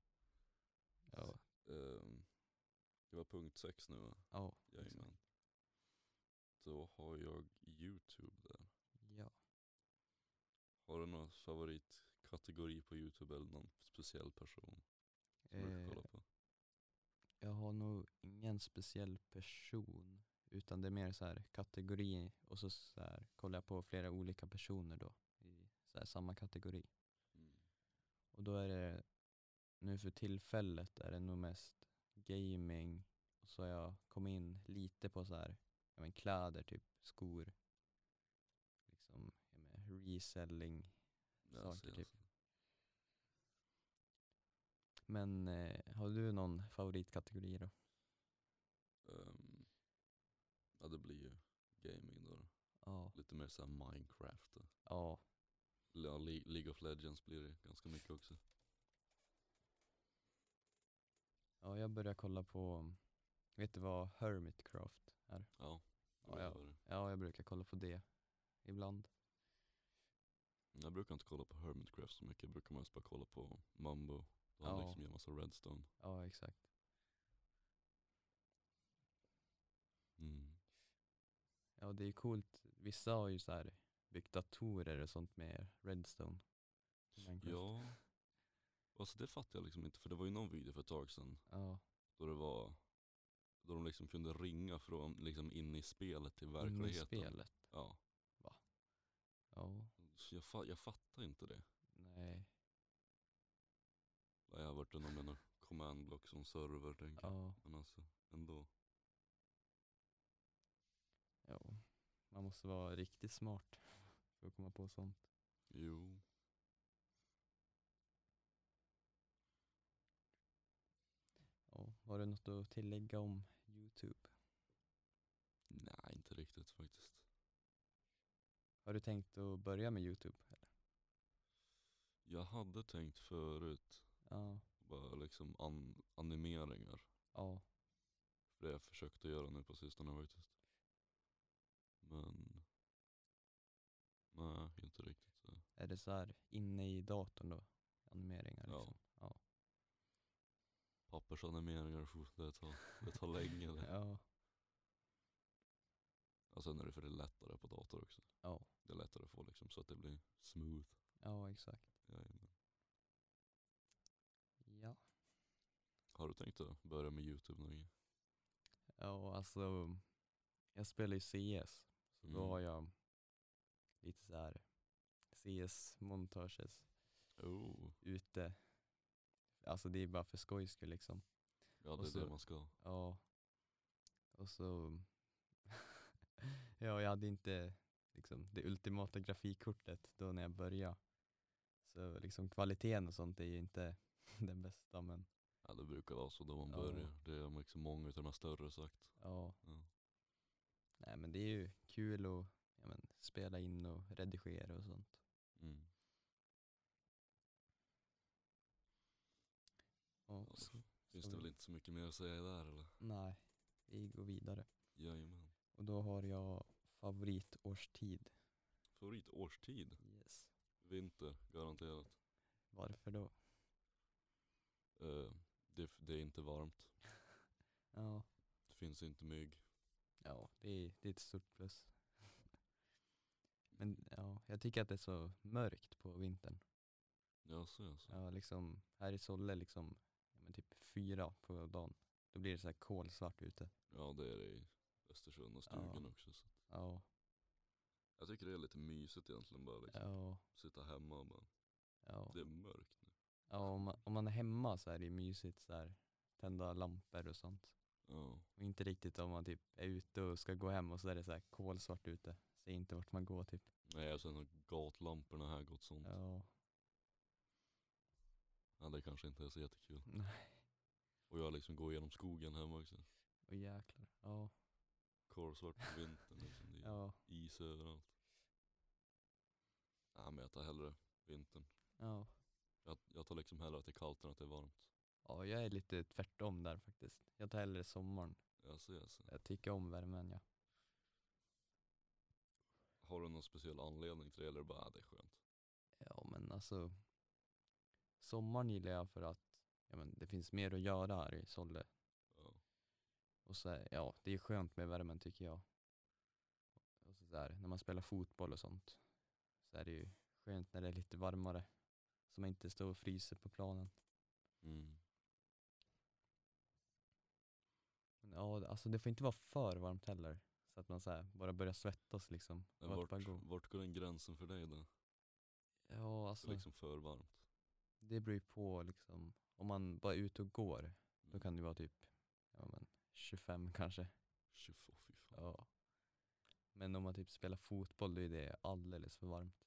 Speaker 2: ja.
Speaker 1: Ehm, det var punkt sex nu va?
Speaker 2: Ja,
Speaker 1: Jajamän. Då har jag YouTube där.
Speaker 2: ja.
Speaker 1: Har du någon favoritkategori på YouTube eller någon speciell person som du brukar
Speaker 2: Eh,
Speaker 1: kolla på?
Speaker 2: jag har nog ingen speciell person utan det är mer så här kategori och så, så här, kollar jag på flera olika personer då i så här, samma kategori.
Speaker 1: Mm.
Speaker 2: Och då är det nu för tillfället är det nog mest gaming och så har jag kommit in lite på så här, ja, men kläder, typ skor. Liksom, ja, men reselling
Speaker 1: Ja,
Speaker 2: saker,
Speaker 1: se,
Speaker 2: typ. Men eh, har du någon favoritkategori då?
Speaker 1: Ehm, ja det blir ju gaming då.
Speaker 2: Ja.
Speaker 1: Lite mer såhär Minecraft. och-
Speaker 2: Ja.
Speaker 1: eller Ja, Le- League of Legends blir det ganska mycket också.
Speaker 2: Ja, jag började kolla på, vet du vad Hermitcraft är?
Speaker 1: Ja,
Speaker 2: Ja,
Speaker 1: jag,
Speaker 2: ja.
Speaker 1: gör det.
Speaker 2: Ja, jag brukar kolla på det ibland.
Speaker 1: jag brukar inte kolla på Hermitcraft så mycket, jag brukar mest bara kolla på Mambo. Då han
Speaker 2: Ja.
Speaker 1: liksom gör massa redstone.
Speaker 2: Ja, exakt.
Speaker 1: Mm.
Speaker 2: Ja, det är ju coolt. Vissa har ju så här byggt datorer och sånt med Redstone. i Minecraft.
Speaker 1: Ja. Alltså det fattar jag liksom inte, för det var ju någon video för ett tag sedan
Speaker 2: Ja,
Speaker 1: då det var då de liksom kunde ringa från liksom in i spelet till
Speaker 2: in i
Speaker 1: verkligheten.
Speaker 2: spelet.
Speaker 1: Ja.
Speaker 2: Ja,
Speaker 1: Så jag, fa- jag fattar inte det.
Speaker 2: nej.
Speaker 1: Jag har varit någon med någon command block som server tänker jag.
Speaker 2: Ja,
Speaker 1: Men alltså ändå.
Speaker 2: ja. Man måste vara riktigt smart för att komma på sånt.
Speaker 1: Jo.
Speaker 2: Ja. Har du något att tillägga om YouTube?
Speaker 1: Nej, inte riktigt faktiskt.
Speaker 2: Har du tänkt att börja med YouTube? Eller?
Speaker 1: Jag hade tänkt förut,
Speaker 2: Ja,
Speaker 1: bara liksom an- animeringar.
Speaker 2: ja,
Speaker 1: För det har jag försökt att göra nu på sistone faktiskt. Men nej, inte riktigt så.
Speaker 2: Är det så här inne i datorn då? Animeringar
Speaker 1: Ja.
Speaker 2: liksom? Ja.
Speaker 1: Pappersanimeringar, pff, det tar, det tar länge. Det.
Speaker 2: Ja.
Speaker 1: Och sen är det för det är lättare på dator också.
Speaker 2: Ja.
Speaker 1: Det är lättare att få liksom så att det blir smooth.
Speaker 2: ja, exakt.
Speaker 1: Jajamän.
Speaker 2: Ja.
Speaker 1: Har du tänkt att börja med YouTube någon gång?
Speaker 2: Ja, alltså jag spelar ju CS. Så
Speaker 1: Mm.
Speaker 2: då har jag lite så här CS-montages
Speaker 1: Oh,
Speaker 2: ute. Alltså det är bara för skojs skull liksom.
Speaker 1: ja det
Speaker 2: Och
Speaker 1: är det
Speaker 2: så-
Speaker 1: man ska.
Speaker 2: Ja. Och så, ja jag hade inte liksom det ultimata grafikkortet då när jag började. Så liksom kvaliteten och sånt är ju inte den bästa men
Speaker 1: Ja det brukar vara så då man
Speaker 2: Ja.
Speaker 1: börjar. Det är liksom många av de här större sagt.
Speaker 2: ja.
Speaker 1: Ja.
Speaker 2: Nej men det är ju kul att ja, men, spela in och redigera och sånt.
Speaker 1: Mm.
Speaker 2: Och
Speaker 1: Ja,
Speaker 2: så,
Speaker 1: Finns
Speaker 2: så
Speaker 1: det
Speaker 2: vi-
Speaker 1: väl inte så mycket mer att säga där eller?
Speaker 2: Nej, vi går vidare.
Speaker 1: Jajamän.
Speaker 2: Och då har jag favoritårstid.
Speaker 1: Favoritårstid?
Speaker 2: Yes.
Speaker 1: Vinter, garanterat.
Speaker 2: Varför då?
Speaker 1: Eh, det, det är inte varmt.
Speaker 2: Ja,
Speaker 1: Det finns inte mygg.
Speaker 2: ja det, är, det är ett stort plus. Men ja, jag tycker att det är så mörkt på vintern.
Speaker 1: Jaså jaså.
Speaker 2: Ja, liksom, här i Solle liksom, ja, men typ fyra på dagen. Då blir det så här kolsvart ute.
Speaker 1: Ja det är det i Östersund och
Speaker 2: Ja.
Speaker 1: stugan också. Så. att-
Speaker 2: Ja,
Speaker 1: Jag tycker det är lite mysigt egentligen bara liksom.
Speaker 2: ja,
Speaker 1: Sitta hemma och bara,
Speaker 2: ja.
Speaker 1: det är mörkt nu.
Speaker 2: ja om, man, om man är hemma så är det ju mysigt så här, tända lampor och sånt.
Speaker 1: Ja.
Speaker 2: Och inte riktigt om man typ är ute och ska gå hem och så är det så här kolsvart ute. Ser inte vart man går typ.
Speaker 1: Nej och sen har gatlamporna här gått sånt. Ja.
Speaker 2: Ja,
Speaker 1: det kanske inte är så jättekul.
Speaker 2: nej.
Speaker 1: Och jag liksom går igenom skogen hemma också.
Speaker 2: Och jäklar. Ja,
Speaker 1: Kolsvart på vintern liksom. Det är
Speaker 2: ja,
Speaker 1: is överallt. Nej men jag tar hellre vintern.
Speaker 2: ja.
Speaker 1: Jag, jag tar liksom hellre att det är kallt än att det är varmt.
Speaker 2: Ja, jag är lite tvärtom där faktiskt. Jag tar hellre sommaren.
Speaker 1: Jaså jaså.
Speaker 2: Jag tycker om värmen ja.
Speaker 1: Har du någon speciell anledning till det eller bara, ah, det är skönt?
Speaker 2: Ja men alltså, sommaren gillar jag för att ja, men det finns mer att göra här i Solle.
Speaker 1: Ja.
Speaker 2: Och så, är- ja, det är skönt med värmen tycker jag. Och så där, när man spelar fotboll och sånt så är det ju skönt när det är lite varmare. Så man inte står och fryser på planen.
Speaker 1: Mm.
Speaker 2: Men ja, alltså det får inte vara för varmt heller. Så att man så här, bara börjar svettas liksom.
Speaker 1: Men
Speaker 2: Och att
Speaker 1: vart,
Speaker 2: bara gå-
Speaker 1: vart går den gränsen för dig då?
Speaker 2: Ja,
Speaker 1: Det
Speaker 2: alltså.
Speaker 1: är liksom för varmt.
Speaker 2: Det beror ju på liksom, om man bara är ute och går,
Speaker 1: Mm.
Speaker 2: då kan det vara typ ja, men 25 kanske.
Speaker 1: 24, fy fan.
Speaker 2: Ja. Men om man typ spelar fotboll, då är det alldeles för varmt.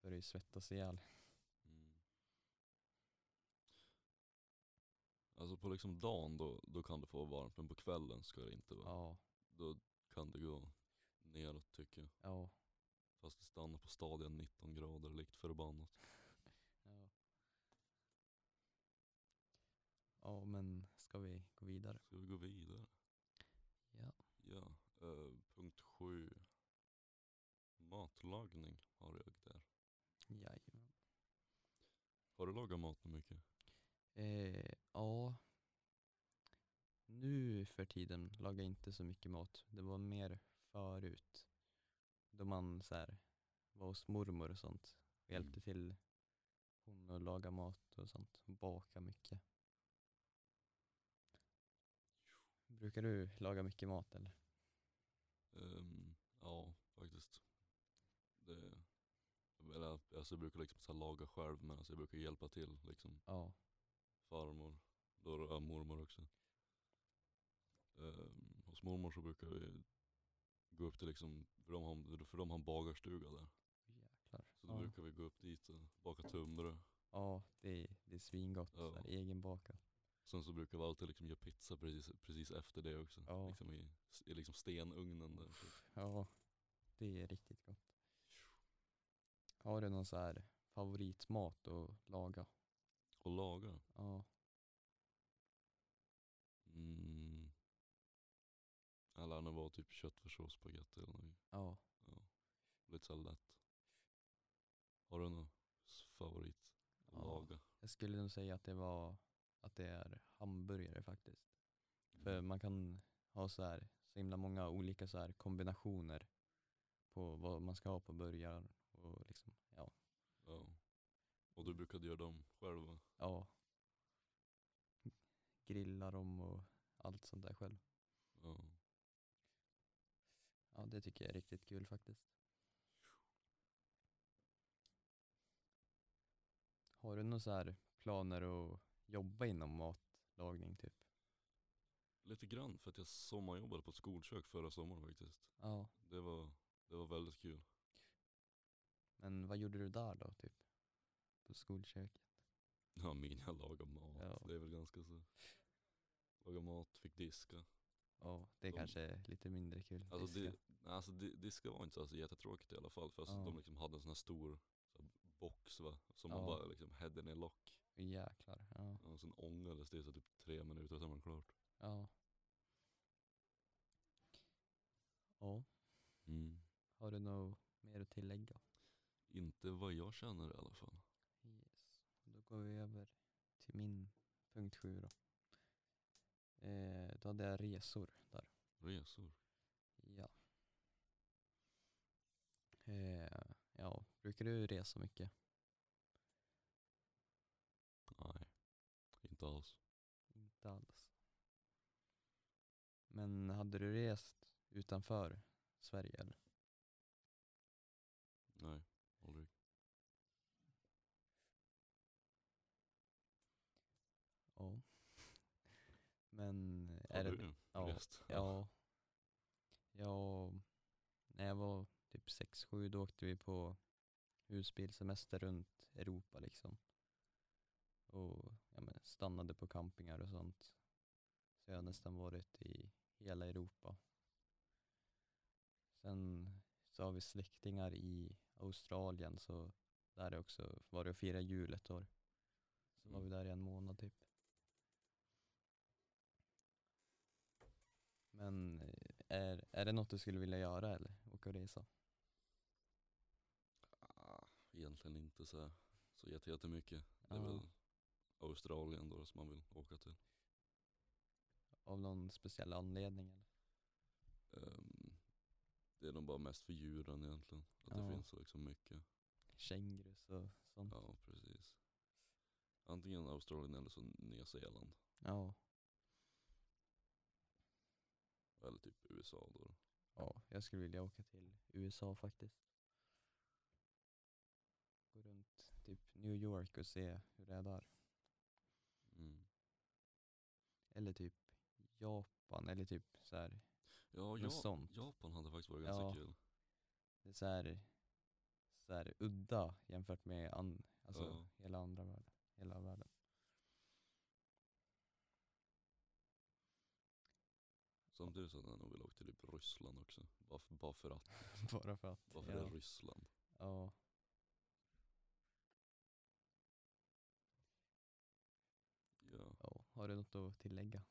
Speaker 2: Börjar ju svettas ihjäl.
Speaker 1: Mm. Alltså på liksom dagen då, då kan det få vara varmt, men på kvällen ska det inte vara.
Speaker 2: Ja,
Speaker 1: Då kan det gå neråt tycker jag.
Speaker 2: ja,
Speaker 1: Fast det stannar på stadiga 19 grader likt förbannat.
Speaker 2: ja. Ja, men ska vi gå vidare?
Speaker 1: Ska vi gå vidare?
Speaker 2: Ja.
Speaker 1: Ja, eh, punkt sju. Matlagning har jag där.
Speaker 2: Jajamän.
Speaker 1: Har du lagat mat mycket?
Speaker 2: Eh, ja. Nu för tiden lagar jag inte så mycket mat. Det var mer förut. Då man så här, var hos mormor och sånt. Och
Speaker 1: Mm.
Speaker 2: hjälpte till hon att laga mat och sånt. Och baka mycket. Brukar du laga mycket mat eller?
Speaker 1: Ehm, ja, faktiskt. Det, eller, alltså jag brukar liksom så här laga själv men alltså jag brukar hjälpa till liksom.
Speaker 2: Ja.
Speaker 1: Farmor, då är det- ja, mormor också. Ehm, hos mormor så brukar vi gå upp till liksom, för de har, för de har en bagarstuga där.
Speaker 2: Jäklar.
Speaker 1: Så då
Speaker 2: Ja.
Speaker 1: brukar vi gå upp dit och baka tunnbröd.
Speaker 2: ja, det är, det är svingott.
Speaker 1: Ja.
Speaker 2: Ja. Egenbakat.
Speaker 1: Sen så brukar vi alltid liksom göra pizza precis, precis efter det också.
Speaker 2: Ja.
Speaker 1: Liksom i, i liksom stenugnen där. typ.
Speaker 2: Ja, det är riktigt gott. Har du någon så här favoritmat att laga?
Speaker 1: Och laga.
Speaker 2: Ja,
Speaker 1: Mm. Eller när det var typ köttfärssås, spagetti eller något.
Speaker 2: ja.
Speaker 1: Lite såhär lätt. Har du någon s- favorit? att
Speaker 2: Ja.
Speaker 1: Laga?
Speaker 2: Jag skulle nog säga att det var att det är hamburgare faktiskt. För
Speaker 1: Mm.
Speaker 2: man kan ha så här så himla många olika så här kombinationer på vad man ska ha på burgaren och liksom, ja,
Speaker 1: Ja. Och du brukade göra dem själv va?
Speaker 2: ja. Grilla dem och allt sånt där själv.
Speaker 1: Ja.
Speaker 2: Ja, det tycker jag är riktigt kul faktiskt. Har du några så här planer att jobba inom matlagning typ?
Speaker 1: Lite grann för att jag sommarjobbade på ett skolkök förra sommaren faktiskt.
Speaker 2: Ja.
Speaker 1: Det var, det var väldigt kul.
Speaker 2: Men vad gjorde du där då typ? På skolköket?
Speaker 1: Ja, min jag lagade mat.
Speaker 2: Ja.
Speaker 1: Det är väl ganska så. Lagade mat, fick diska.
Speaker 2: Ja, det är
Speaker 1: De-
Speaker 2: kanske är lite mindre kul.
Speaker 1: Alltså,
Speaker 2: visst,
Speaker 1: di, nej, alltså di, diska var inte så alltså, jättetråkigt i alla fall. För alltså,
Speaker 2: Ja.
Speaker 1: de liksom hade en sån här stor så här, box va. Som man
Speaker 2: Ja.
Speaker 1: bara liksom hade ner lock.
Speaker 2: ja. Jäklar. Ja.
Speaker 1: Och sen ångades det så typ tre minuter och sen var det klart.
Speaker 2: Ja. Ja,
Speaker 1: Mm.
Speaker 2: har du något mer att tillägga?
Speaker 1: Inte vad jag känner i alla fall.
Speaker 2: Yes. Då går vi över till min punkt sju då. Eh, då hade jag resor där.
Speaker 1: Resor.
Speaker 2: Ja. Eh, ja, brukar du resa mycket?
Speaker 1: Nej, inte alls.
Speaker 2: Inte alls. Men hade du rest utanför Sverige eller?
Speaker 1: Nej, aldrig.
Speaker 2: Ja. Men
Speaker 1: Har
Speaker 2: är det,
Speaker 1: du
Speaker 2: ja,
Speaker 1: rest?
Speaker 2: Ja. Ja, när jag var typ 6-7 då åkte vi på husbilsemester runt Europa liksom. Och ja, men stannade på campingar och sånt. Så jag har nästan varit i hela Europa. Sen så har vi släktingar i Australien så där är också var det och fira jul ett år. Så var
Speaker 1: Mm.
Speaker 2: vi där i en månad typ. Men eh, är, är det något du skulle vilja göra eller? Åka och resa?
Speaker 1: Ah, Egentligen inte så, här, så jätte, jättemycket. Det är
Speaker 2: Ja.
Speaker 1: väl Australien då som man vill åka till.
Speaker 2: Av någon speciell anledning? Eller?
Speaker 1: Ehm, det är nog bara mest för djuren egentligen. Att
Speaker 2: Ja.
Speaker 1: det finns så liksom mycket.
Speaker 2: Kängurus och sånt? Ja.
Speaker 1: Ja, precis. Antingen Australien eller så Nya Zeeland.
Speaker 2: ja.
Speaker 1: Eller typ USA då.
Speaker 2: jag skulle vilja åka till USA faktiskt. Gå runt typ New York och se hur det är där.
Speaker 1: Mm.
Speaker 2: Eller typ Japan eller typ så här.
Speaker 1: Ja,
Speaker 2: Men
Speaker 1: ja
Speaker 2: sånt.
Speaker 1: Japan hade faktiskt varit ganska
Speaker 2: Ja.
Speaker 1: kul.
Speaker 2: Det är så här, så här udda jämfört med an, alltså
Speaker 1: Ja.
Speaker 2: hela andra världen. Hela världen.
Speaker 1: Samtidigt så hade jag nog velat åka till typ Ryssland också. Bara för, bara för att.
Speaker 2: Bara för att.
Speaker 1: Bara för det är
Speaker 2: ja.
Speaker 1: Ryssland.
Speaker 2: ja.
Speaker 1: Ja.
Speaker 2: ja. Har du något att tillägga?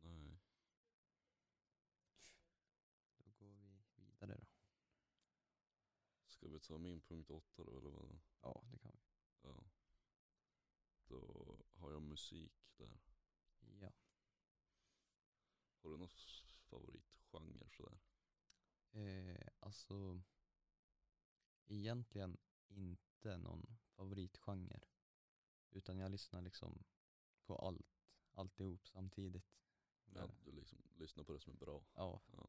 Speaker 1: Nej.
Speaker 2: Då går vi vidare då.
Speaker 1: Ska vi ta min punkt åtta då eller vad?
Speaker 2: Ja, det kan
Speaker 1: Ja. Då har jag musik där.
Speaker 2: vi. Ja.
Speaker 1: Har du någon s- favoritgenre sådär?
Speaker 2: Eh, alltså, egentligen inte någon favoritgenre. Utan jag lyssnar liksom på allt, alltihop samtidigt.
Speaker 1: Ja.
Speaker 2: Men,
Speaker 1: du liksom lyssnar på det som är bra.
Speaker 2: ja.
Speaker 1: Ja.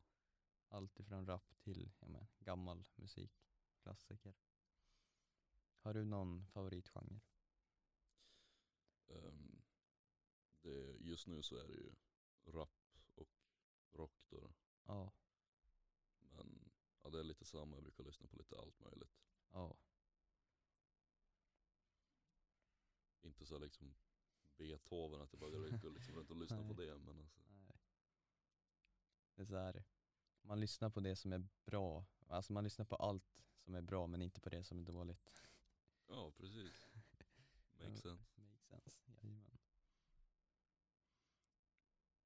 Speaker 2: Allt ifrån rap till ja, men, gammal musik, klassiker. Har du någon favoritgenre?
Speaker 1: Ehm, det, just nu så är det ju rap och rock då.
Speaker 2: Ja,
Speaker 1: Men ja, det är lite samma, jag brukar lyssna på lite allt möjligt.
Speaker 2: ja,
Speaker 1: Inte så här liksom Beethoven att jag bara går går liksom runt och lyssnar på
Speaker 2: Nej.
Speaker 1: det men alltså.
Speaker 2: nej. Det är så här, man lyssnar på det som är bra. Alltså man lyssnar på allt som är bra men inte på det som är dåligt.
Speaker 1: Ja precis. Makes
Speaker 2: Ja.
Speaker 1: sense.
Speaker 2: Makes sense, jajamän.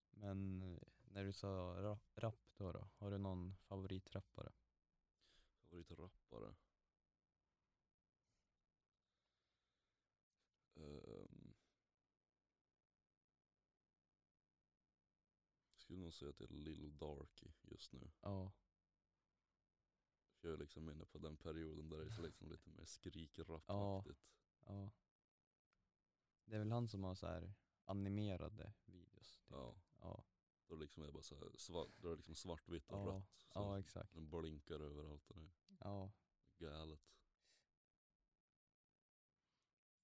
Speaker 2: Men eh, när du sa ra- rap då, då, har du någon favoritrappare?
Speaker 1: Favoritrappare? Um, skulle nog säga att det är Lil Darky just nu.
Speaker 2: Ja,
Speaker 1: För jag är liksom inne på den perioden där det är så liksom lite mer skrikrappaktigt.
Speaker 2: ja. Det är väl han som har så här animerade videos? typ.
Speaker 1: Ja.
Speaker 2: Ja,
Speaker 1: Då liksom är det bara så här svart, då är det liksom svartvitt och
Speaker 2: Ja,
Speaker 1: rött. Så
Speaker 2: ja exakt.
Speaker 1: Den blinkar överallt och det är
Speaker 2: Ja,
Speaker 1: galet.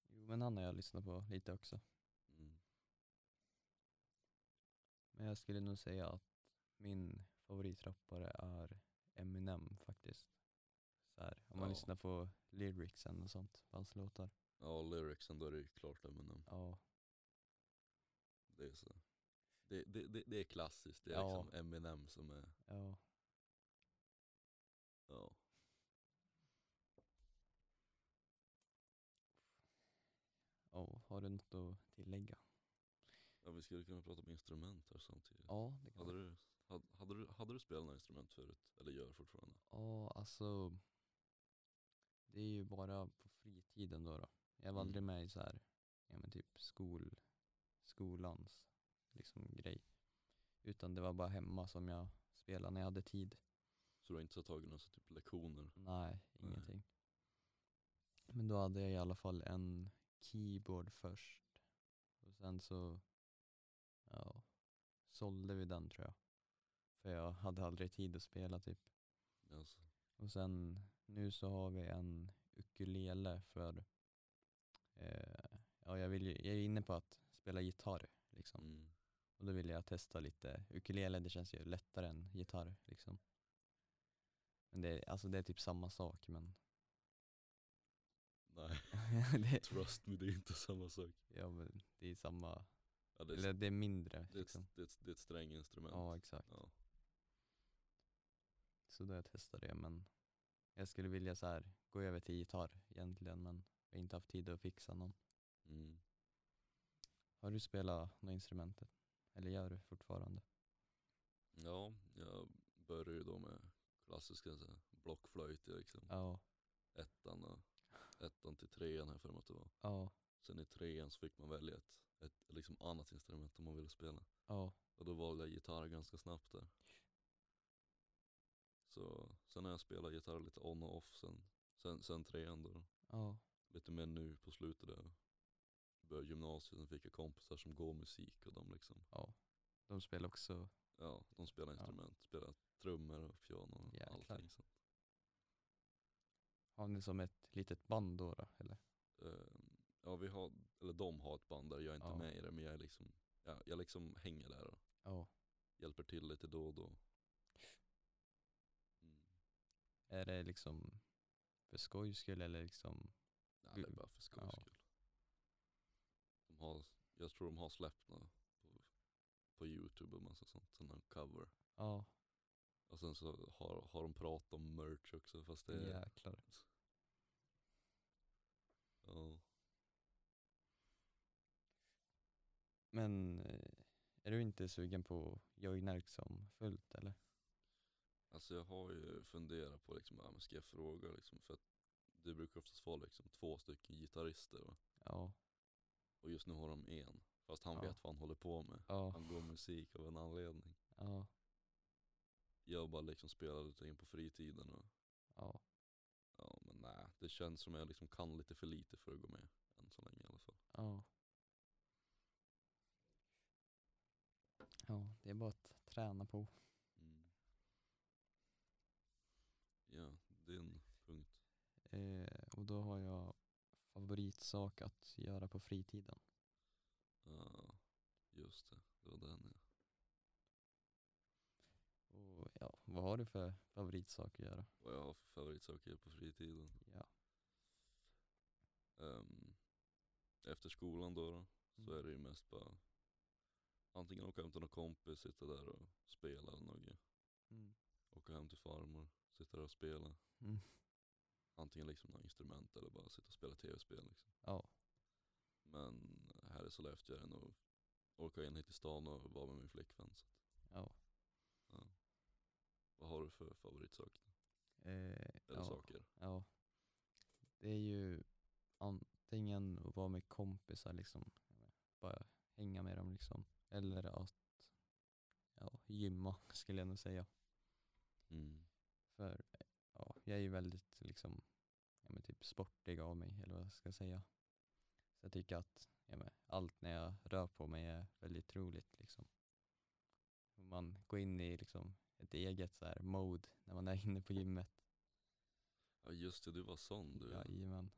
Speaker 2: men han har jag lyssnat på lite också.
Speaker 1: Mm.
Speaker 2: Men jag skulle nog säga att min favoritrappare är Eminem faktiskt. Så här, om man
Speaker 1: Ja.
Speaker 2: lyssnar på lyricsen och sånt på hans låtar.
Speaker 1: Ja, lyricsen då är det ju klart Eminem.
Speaker 2: Ja,
Speaker 1: Det är så. Det, det, det, det är klassiskt, det är
Speaker 2: Ja.
Speaker 1: liksom Eminem som är,
Speaker 2: ja.
Speaker 1: ja.
Speaker 2: ja. Har du något att tillägga?
Speaker 1: ja vi skulle kunna prata om instrument här samtidigt.
Speaker 2: Ja, det kan
Speaker 1: Hade
Speaker 2: man.
Speaker 1: du, hade, hade, du, hade du spelat några instrument förut? Eller gör fortfarande?
Speaker 2: Ja, alltså. Det är ju bara på fritiden då. då. Jag var
Speaker 1: Mm.
Speaker 2: aldrig med i så här, ja men typ skol, skolans liksom grej. Utan det var bara hemma som jag spelade när jag hade tid.
Speaker 1: Så du har inte så tagit några så typ lektioner?
Speaker 2: Nej, ingenting. Men då hade jag i alla fall en keyboard först. Och sen så ja, sålde vi den tror jag. För jag hade aldrig tid att spela typ.
Speaker 1: Alltså,
Speaker 2: Och sen nu så har vi en ukulele för eh, ja, jag, vill ju, jag är inne på att spela gitarr liksom.
Speaker 1: mm.
Speaker 2: Och då ville jag testa lite ukulele, det känns ju lättare än gitarr liksom. Men det är, alltså det är typ samma sak men
Speaker 1: Nej,
Speaker 2: det,
Speaker 1: trust me det är inte samma sak.
Speaker 2: ja, men det är samma,
Speaker 1: Ja, det, är,
Speaker 2: eller
Speaker 1: det,
Speaker 2: det är mindre
Speaker 1: det, är ett,
Speaker 2: liksom.
Speaker 1: det, är ett, det är ett stränginstrument.
Speaker 2: Ja exakt.
Speaker 1: Ja.
Speaker 2: Så då har jag testat det men jag skulle vilja så här gå över till gitarr egentligen men jag har inte haft tid att fixa någon.
Speaker 1: Mm.
Speaker 2: Har du spelat något instrumentet? Eller gör du fortfarande?
Speaker 1: ja, jag började ju då med klassiska så här, blockflöjt, i liksom.
Speaker 2: Ja,
Speaker 1: ettan, och, ettan till trean här för mig att det var.
Speaker 2: ja,
Speaker 1: Sen i trean så fick man välja ett, ett liksom annat instrument om man ville spela.
Speaker 2: ja,
Speaker 1: Och då valde jag gitarr ganska snabbt där. Så sen har jag spelat gitarr lite on och off sen, sen, sen trean då.
Speaker 2: ja,
Speaker 1: Lite mer nu på slutet där. Började gymnasiet, sen fick jag kompisar som går musik och de liksom,
Speaker 2: ja. De spelar också,
Speaker 1: ja de spelar
Speaker 2: Ja.
Speaker 1: instrument, spelar trummor och piano och
Speaker 2: Jäklar.
Speaker 1: allting. Så,
Speaker 2: har ni som ett litet band då, då eller?
Speaker 1: ehm, ja vi har, eller de har ett band där, jag är inte
Speaker 2: Ja.
Speaker 1: med i det men jag är liksom, ja, jag liksom hänger där och
Speaker 2: Ja.
Speaker 1: hjälper till lite då och då. Mm.
Speaker 2: Är det liksom för skojs skull eller liksom,
Speaker 1: Nej, det är bara för skojs
Speaker 2: Ja.
Speaker 1: skull. De har, jag tror de har släppt några på, på youtube och massa sånt, sån här cover.
Speaker 2: ja,
Speaker 1: Och sen så har, har de pratat om merch också fast det är,
Speaker 2: jäklar.
Speaker 1: ja,
Speaker 2: Men eh, är du inte sugen på att joina liksom fullt eller?
Speaker 1: Alltså jag har ju funderat på liksom, ja, men ska jag fråga liksom för att det brukar oftast vara liksom två stycken gitarrister va?
Speaker 2: Ja,
Speaker 1: och just nu har de en. Fast han
Speaker 2: Ja.
Speaker 1: vet vad han håller på med.
Speaker 2: ja,
Speaker 1: Han går musik av en anledning.
Speaker 2: ja,
Speaker 1: Jag bara liksom spelar lite in på fritiden och
Speaker 2: ja,
Speaker 1: Ja men nej, det känns som jag liksom kan lite för lite för att gå med än så länge i alla fall.
Speaker 2: ja. Ja, det är bara att träna på. Mm.
Speaker 1: Ja, din punkt.
Speaker 2: Eh, och då har jag favoritsak att göra på fritiden.
Speaker 1: Ja, just det. Det var den ja.
Speaker 2: Och ja, vad har du för favoritsak att göra?
Speaker 1: Vad jag har för favoritsaker på fritiden.
Speaker 2: Ja.
Speaker 1: Ehm, efter skolan då, då så
Speaker 2: Mm.
Speaker 1: är det ju mest bara antingen åka hem till någon kompis, sitta där och spela eller något.
Speaker 2: Mm.
Speaker 1: Åka hem till farmor, sitta där och spela.
Speaker 2: Mm.
Speaker 1: Antingen liksom några instrument eller bara sitta och spela tv-spel liksom.
Speaker 2: Ja,
Speaker 1: Men här i Sollefteå är det nog orka in hit till stan och vara med min flickvän. Så.
Speaker 2: ja.
Speaker 1: Vad har du för favoritsak? då?
Speaker 2: Eh,
Speaker 1: Eller
Speaker 2: ja,
Speaker 1: saker?
Speaker 2: ja. Det är ju antingen att vara med kompisar liksom, bara hänga med dem liksom. Eller att ja, gymma skulle jag nog säga.
Speaker 1: Mm.
Speaker 2: För ja, jag är ju väldigt liksom, ja, men typ sportig av mig eller vad jag ska säga. Så jag tycker att ja, men allt när jag rör på mig är väldigt roligt. Liksom. Och Man går in i liksom, ett eget så här, mode när man är inne på gymmet.
Speaker 1: Ja just det, du var sån du.
Speaker 2: Jajamän.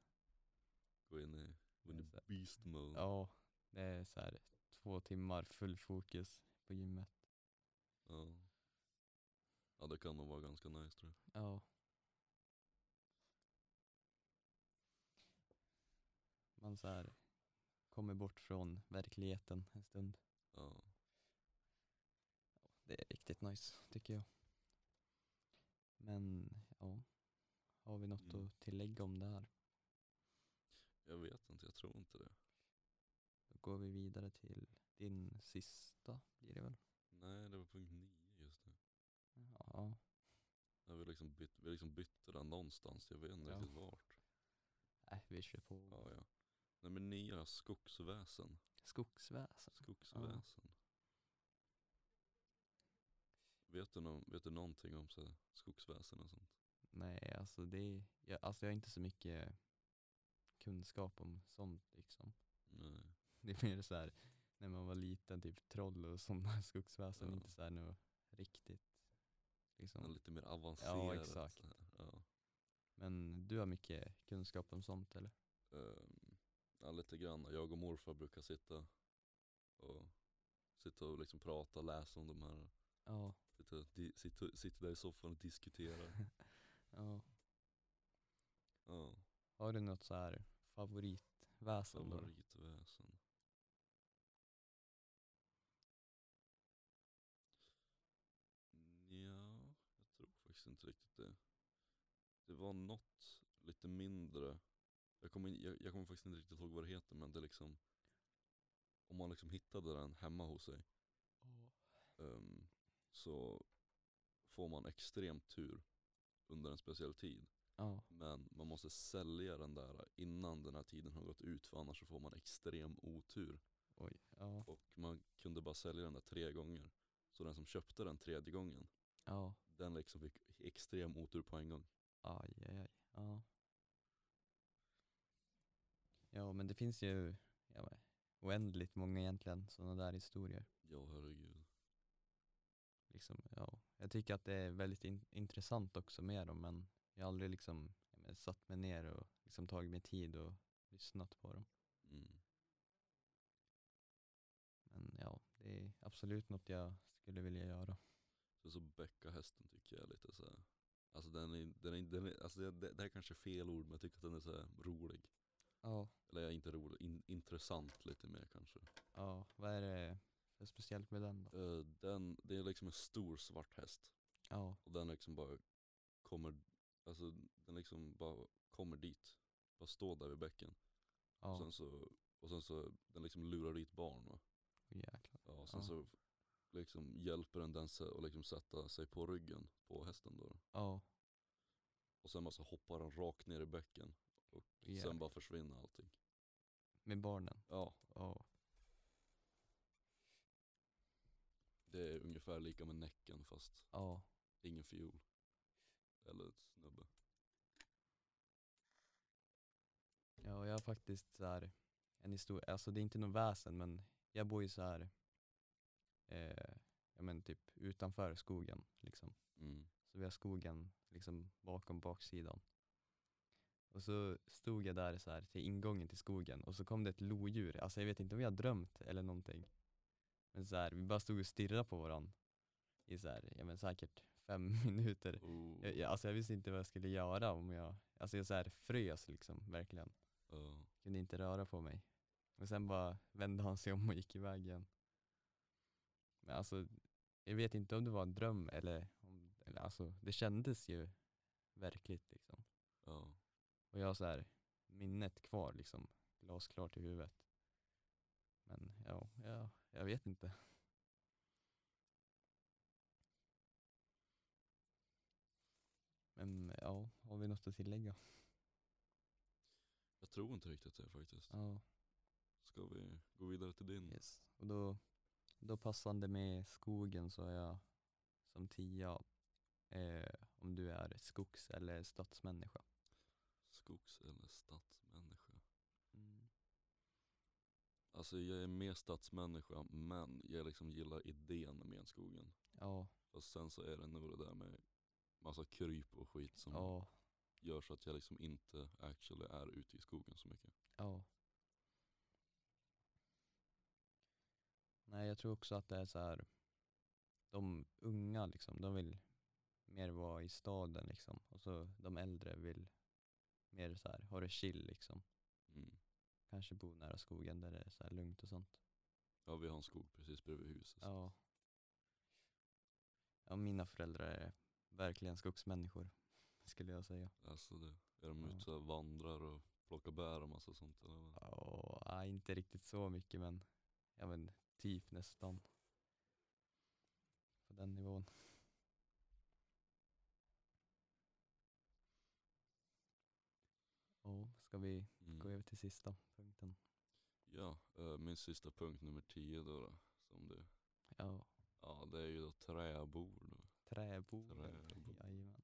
Speaker 1: Gå in i When the
Speaker 2: Så-
Speaker 1: beast mode.
Speaker 2: Ja, det är så här två timmar full fokus på gymmet.
Speaker 1: Ja. Ja det kan nog vara ganska nice tror jag.
Speaker 2: Ja. Man så här kommer bort från verkligheten en stund.
Speaker 1: Ja.
Speaker 2: Det är riktigt nice tycker jag. Men ja, har vi något
Speaker 1: Mm.
Speaker 2: att tillägga om det här?
Speaker 1: Jag vet inte, jag tror inte det.
Speaker 2: Då går vi vidare till din sista blir det väl?
Speaker 1: Nej det var punkt nio just nu.
Speaker 2: Ja,
Speaker 1: Ja, vi, liksom byt, vi liksom bytte den någonstans, jag vet inte
Speaker 2: Ja.
Speaker 1: riktigt vart.
Speaker 2: nej vi kör på.
Speaker 1: Ja, ja. Nej men nio har skogsväsen.
Speaker 2: Skogsväsen.
Speaker 1: Skogsväsen. Vet, du någon, vet du någonting om så här, skogsväsen och sånt?
Speaker 2: Nej, alltså det, jag, alltså jag har inte så mycket kunskap om sånt liksom.
Speaker 1: Nej.
Speaker 2: Det är mer så här när man var liten, typ troll och sådana skogsväsen,
Speaker 1: Ja.
Speaker 2: inte så här något riktigt.
Speaker 1: Den är
Speaker 2: Liksom.
Speaker 1: lite mer avancerat.
Speaker 2: exakt.
Speaker 1: så här. Ja.
Speaker 2: Men du har mycket kunskap om sånt eller?
Speaker 1: Ehm, ja, lite grann. Jag och morfar brukar sitta och sitta och liksom prata, läsa om de här.
Speaker 2: Ja.
Speaker 1: Sitta, di, sitta, sitta där i soffan och diskutera.
Speaker 2: ja.
Speaker 1: ja,
Speaker 2: Har du något så här favoritväsen då?
Speaker 1: favoritväsen. Ja, jag tror faktiskt inte riktigt det. Det var något lite mindre. Jag kommer, in- jag, jag kommer faktiskt inte riktigt ihåg vad det heter men det är liksom om man liksom hittade den hemma hos sig ehm, så får man extrem tur under en speciell tid.
Speaker 2: Ja.
Speaker 1: Men man måste sälja den där innan den här tiden har gått ut för annars så får man extrem otur.
Speaker 2: Oj. Ja.
Speaker 1: Och man kunde bara sälja den där tre gånger. Så den som köpte den tredje gången,
Speaker 2: Ja.
Speaker 1: den liksom fick extrem otur på en gång.
Speaker 2: Aj, aj, aj. Ja. Ja, men det finns ju ja, men, oändligt många egentligen sådana där historier.
Speaker 1: Ja herregud.
Speaker 2: Liksom, ja. Jag tycker att det är väldigt in- intressant också med dem, men jag har aldrig liksom, ja, men, satt mig ner och liksom, tagit mig tid och lyssnat på dem.
Speaker 1: Mm.
Speaker 2: Men ja, det är absolut något jag skulle vilja göra.
Speaker 1: Sen så bäckahästen tycker jag är lite så här. Alltså den är, den är, den är alltså det, det det här kanske är fel ord men jag tycker att den är så här rolig.
Speaker 2: Ja.
Speaker 1: Eller inte rolig, in, intressant lite mer kanske.
Speaker 2: ja. Vad är det för speciellt med den då?
Speaker 1: Eh, den, det är liksom en stor svart häst.
Speaker 2: Ja.
Speaker 1: Och den liksom bara kommer, alltså den liksom bara kommer dit. Bara står där vid bäcken.
Speaker 2: ja.
Speaker 1: Och sen så, och sen så, den liksom lurar dit barn va.
Speaker 2: Åh, jäklar.
Speaker 1: Ja, och sen
Speaker 2: Ja.
Speaker 1: så liksom hjälper den den sä- och liksom sätta sig på ryggen på hästen då.
Speaker 2: Ja.
Speaker 1: Och sen bara så hoppar den rakt ner i bäcken. Och
Speaker 2: Jäklar.
Speaker 1: sen bara försvinner allting.
Speaker 2: Med barnen.
Speaker 1: Ja,
Speaker 2: Ja.
Speaker 1: det är ungefär lika med näcken fast
Speaker 2: Ja.
Speaker 1: ingen fiol. Eller ett snubbe.
Speaker 2: Ja, och jag har faktiskt så här en historia, alltså det är inte något väsen men jag bor ju så här eh, ja men typ utanför skogen liksom.
Speaker 1: Mm.
Speaker 2: Så vi har skogen liksom bakom baksidan. Och så stod jag där så här till ingången till skogen och så kom det ett lodjur, alltså jag vet inte om jag har drömt eller någonting. Men så här, vi bara stod och stirrade på varandra i så här, ja men säkert fem minuter.
Speaker 1: Oh,
Speaker 2: Jag, jag, alltså jag visste inte vad jag skulle göra om jag, alltså jag så här frös liksom verkligen
Speaker 1: ja.
Speaker 2: kunde inte röra på mig. Och sen bara vände han sig om och gick iväg igen. Men alltså, jag vet inte om det var en dröm eller, om, eller alltså, det kändes ju verkligt liksom.
Speaker 1: ja.
Speaker 2: Och jag har så här minnet kvar liksom, glasklart i huvudet. Men ja, ja jag vet inte. Men ja, har vi något att tillägga?
Speaker 1: Jag tror inte riktigt det faktiskt.
Speaker 2: Ja.
Speaker 1: Ska vi gå vidare till din?
Speaker 2: Yes. Och då, då passande med skogen så är jag som tia eh, om du är skogs eller stadsmänniska.
Speaker 1: Skogs eller stadsmänniska?
Speaker 2: Mm.
Speaker 1: Alltså jag är mer stadsmänniska men jag liksom gillar idén med skogen.
Speaker 2: Ja,
Speaker 1: Fast sen så är det nog det där med massa kryp och skit som
Speaker 2: ja,
Speaker 1: gör så att jag liksom inte actually är ute i skogen så mycket.
Speaker 2: ja. Nej, jag tror också att det är så här, de unga liksom, de vill mer vara i staden liksom. Och så de äldre vill mer så här, ha det chill liksom.
Speaker 1: Mm.
Speaker 2: Kanske bo nära skogen där det är så här lugnt och sånt.
Speaker 1: Ja vi har en skog precis bredvid huset. så-
Speaker 2: Ja. Ja, mina föräldrar är verkligen skogsmänniskor, skulle jag säga.
Speaker 1: Alltså det. Är de
Speaker 2: Ja.
Speaker 1: ute och vandrar och plockar bär och massa sånt eller? vad?
Speaker 2: Ja, nej, inte riktigt så mycket men, ja men typ nästan. På den nivån. Ja, ska vi gå
Speaker 1: Mm.
Speaker 2: över till sista punkten?
Speaker 1: Ja, eh, min sista punkt nummer 10 då, då som du.
Speaker 2: Ja,
Speaker 1: Ja det är ju då träbord. då.
Speaker 2: träbord.
Speaker 1: Träbord.
Speaker 2: Jajamän.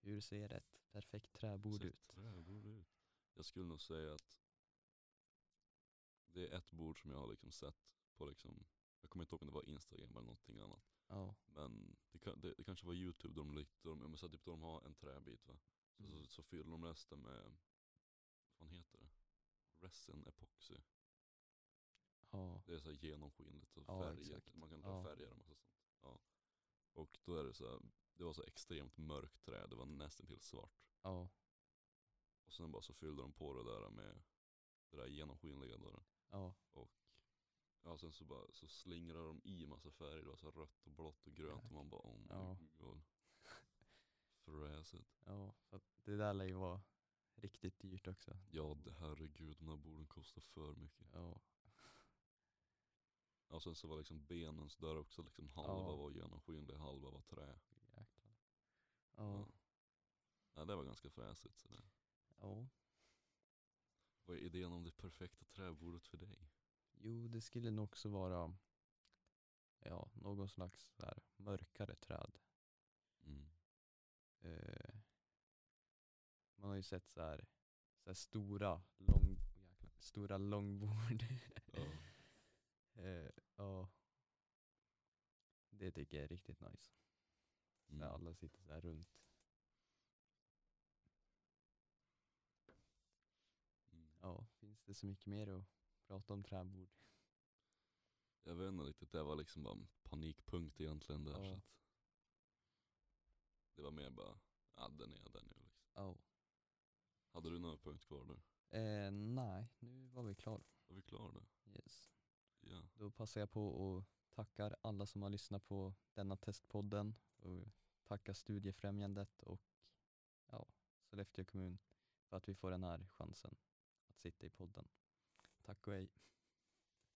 Speaker 2: Hur ser ett perfekt träbord
Speaker 1: Ser
Speaker 2: ut?
Speaker 1: Träbord ut. Jag skulle nog säga att det är ett bord som jag har liksom sett på liksom, jag kommer inte ihåg om det var Instagram eller någonting annat.
Speaker 2: Ja,
Speaker 1: Men det, kan, det, det kanske var youtube de lyckte, de, men så typ de har en träbit va. Så,
Speaker 2: Mm.
Speaker 1: så, så fyller de resten med, vad fan heter det? Resin epoxy.
Speaker 2: ja,
Speaker 1: Det är så här genomskinligt och
Speaker 2: Ja,
Speaker 1: färgat.
Speaker 2: exakt.
Speaker 1: Man kan
Speaker 2: Ja.
Speaker 1: dra färger och massa sånt. Ja. Och då är det så här, det var så extremt mörkt trä, det var nästan till svart.
Speaker 2: ja,
Speaker 1: Och sen bara så fyllde de på det där med det där genomskinliga då.
Speaker 2: ja,
Speaker 1: Ja sen så bara så slingrar de i massa färger, det var så här rött och blått och grönt och man bara oh my
Speaker 2: Ja.
Speaker 1: god. Fräset.
Speaker 2: ja. Så att det där lär ju vara riktigt dyrt också.
Speaker 1: Ja d- herregud, de här borden kostar för mycket.
Speaker 2: Ja.
Speaker 1: Ja sen så var liksom benen så där också, liksom halva
Speaker 2: Ja.
Speaker 1: var genomskinlig, halva var trä.
Speaker 2: Jäklar. Ja.
Speaker 1: Ja, det var ganska fräsigt. Så där.
Speaker 2: ja.
Speaker 1: Vad är idén om det perfekta träbordet för dig?
Speaker 2: Jo, det skulle nog också vara ja, någon slags så här mörkare träd.
Speaker 1: Mm.
Speaker 2: Eh, man har ju sett så här, så här stora, lång, oh, jäklar, stora långbord.
Speaker 1: Ja.
Speaker 2: eh, ja. Det tycker jag är riktigt nice. När
Speaker 1: Mm.
Speaker 2: alla sitter så här runt.
Speaker 1: Mm.
Speaker 2: Ja, finns det så mycket mer att prata om träbord?
Speaker 1: Jag vet inte riktigt, det var liksom bara en panikpunkt egentligen där. Så
Speaker 2: Ja.
Speaker 1: att det var mer bara, ja den är den nu liksom.
Speaker 2: Ja.
Speaker 1: Hade du några punkt kvar där?
Speaker 2: Eh, nej, nu var vi klara.
Speaker 1: Var vi klara där?
Speaker 2: Yes.
Speaker 1: Ja.
Speaker 2: Då passar jag på och tackar alla som har lyssnat på denna testpodden och tackar Studiefrämjandet och ja, Sollefteå kommun för att vi får den här chansen att sitta i podden. Tack och hej.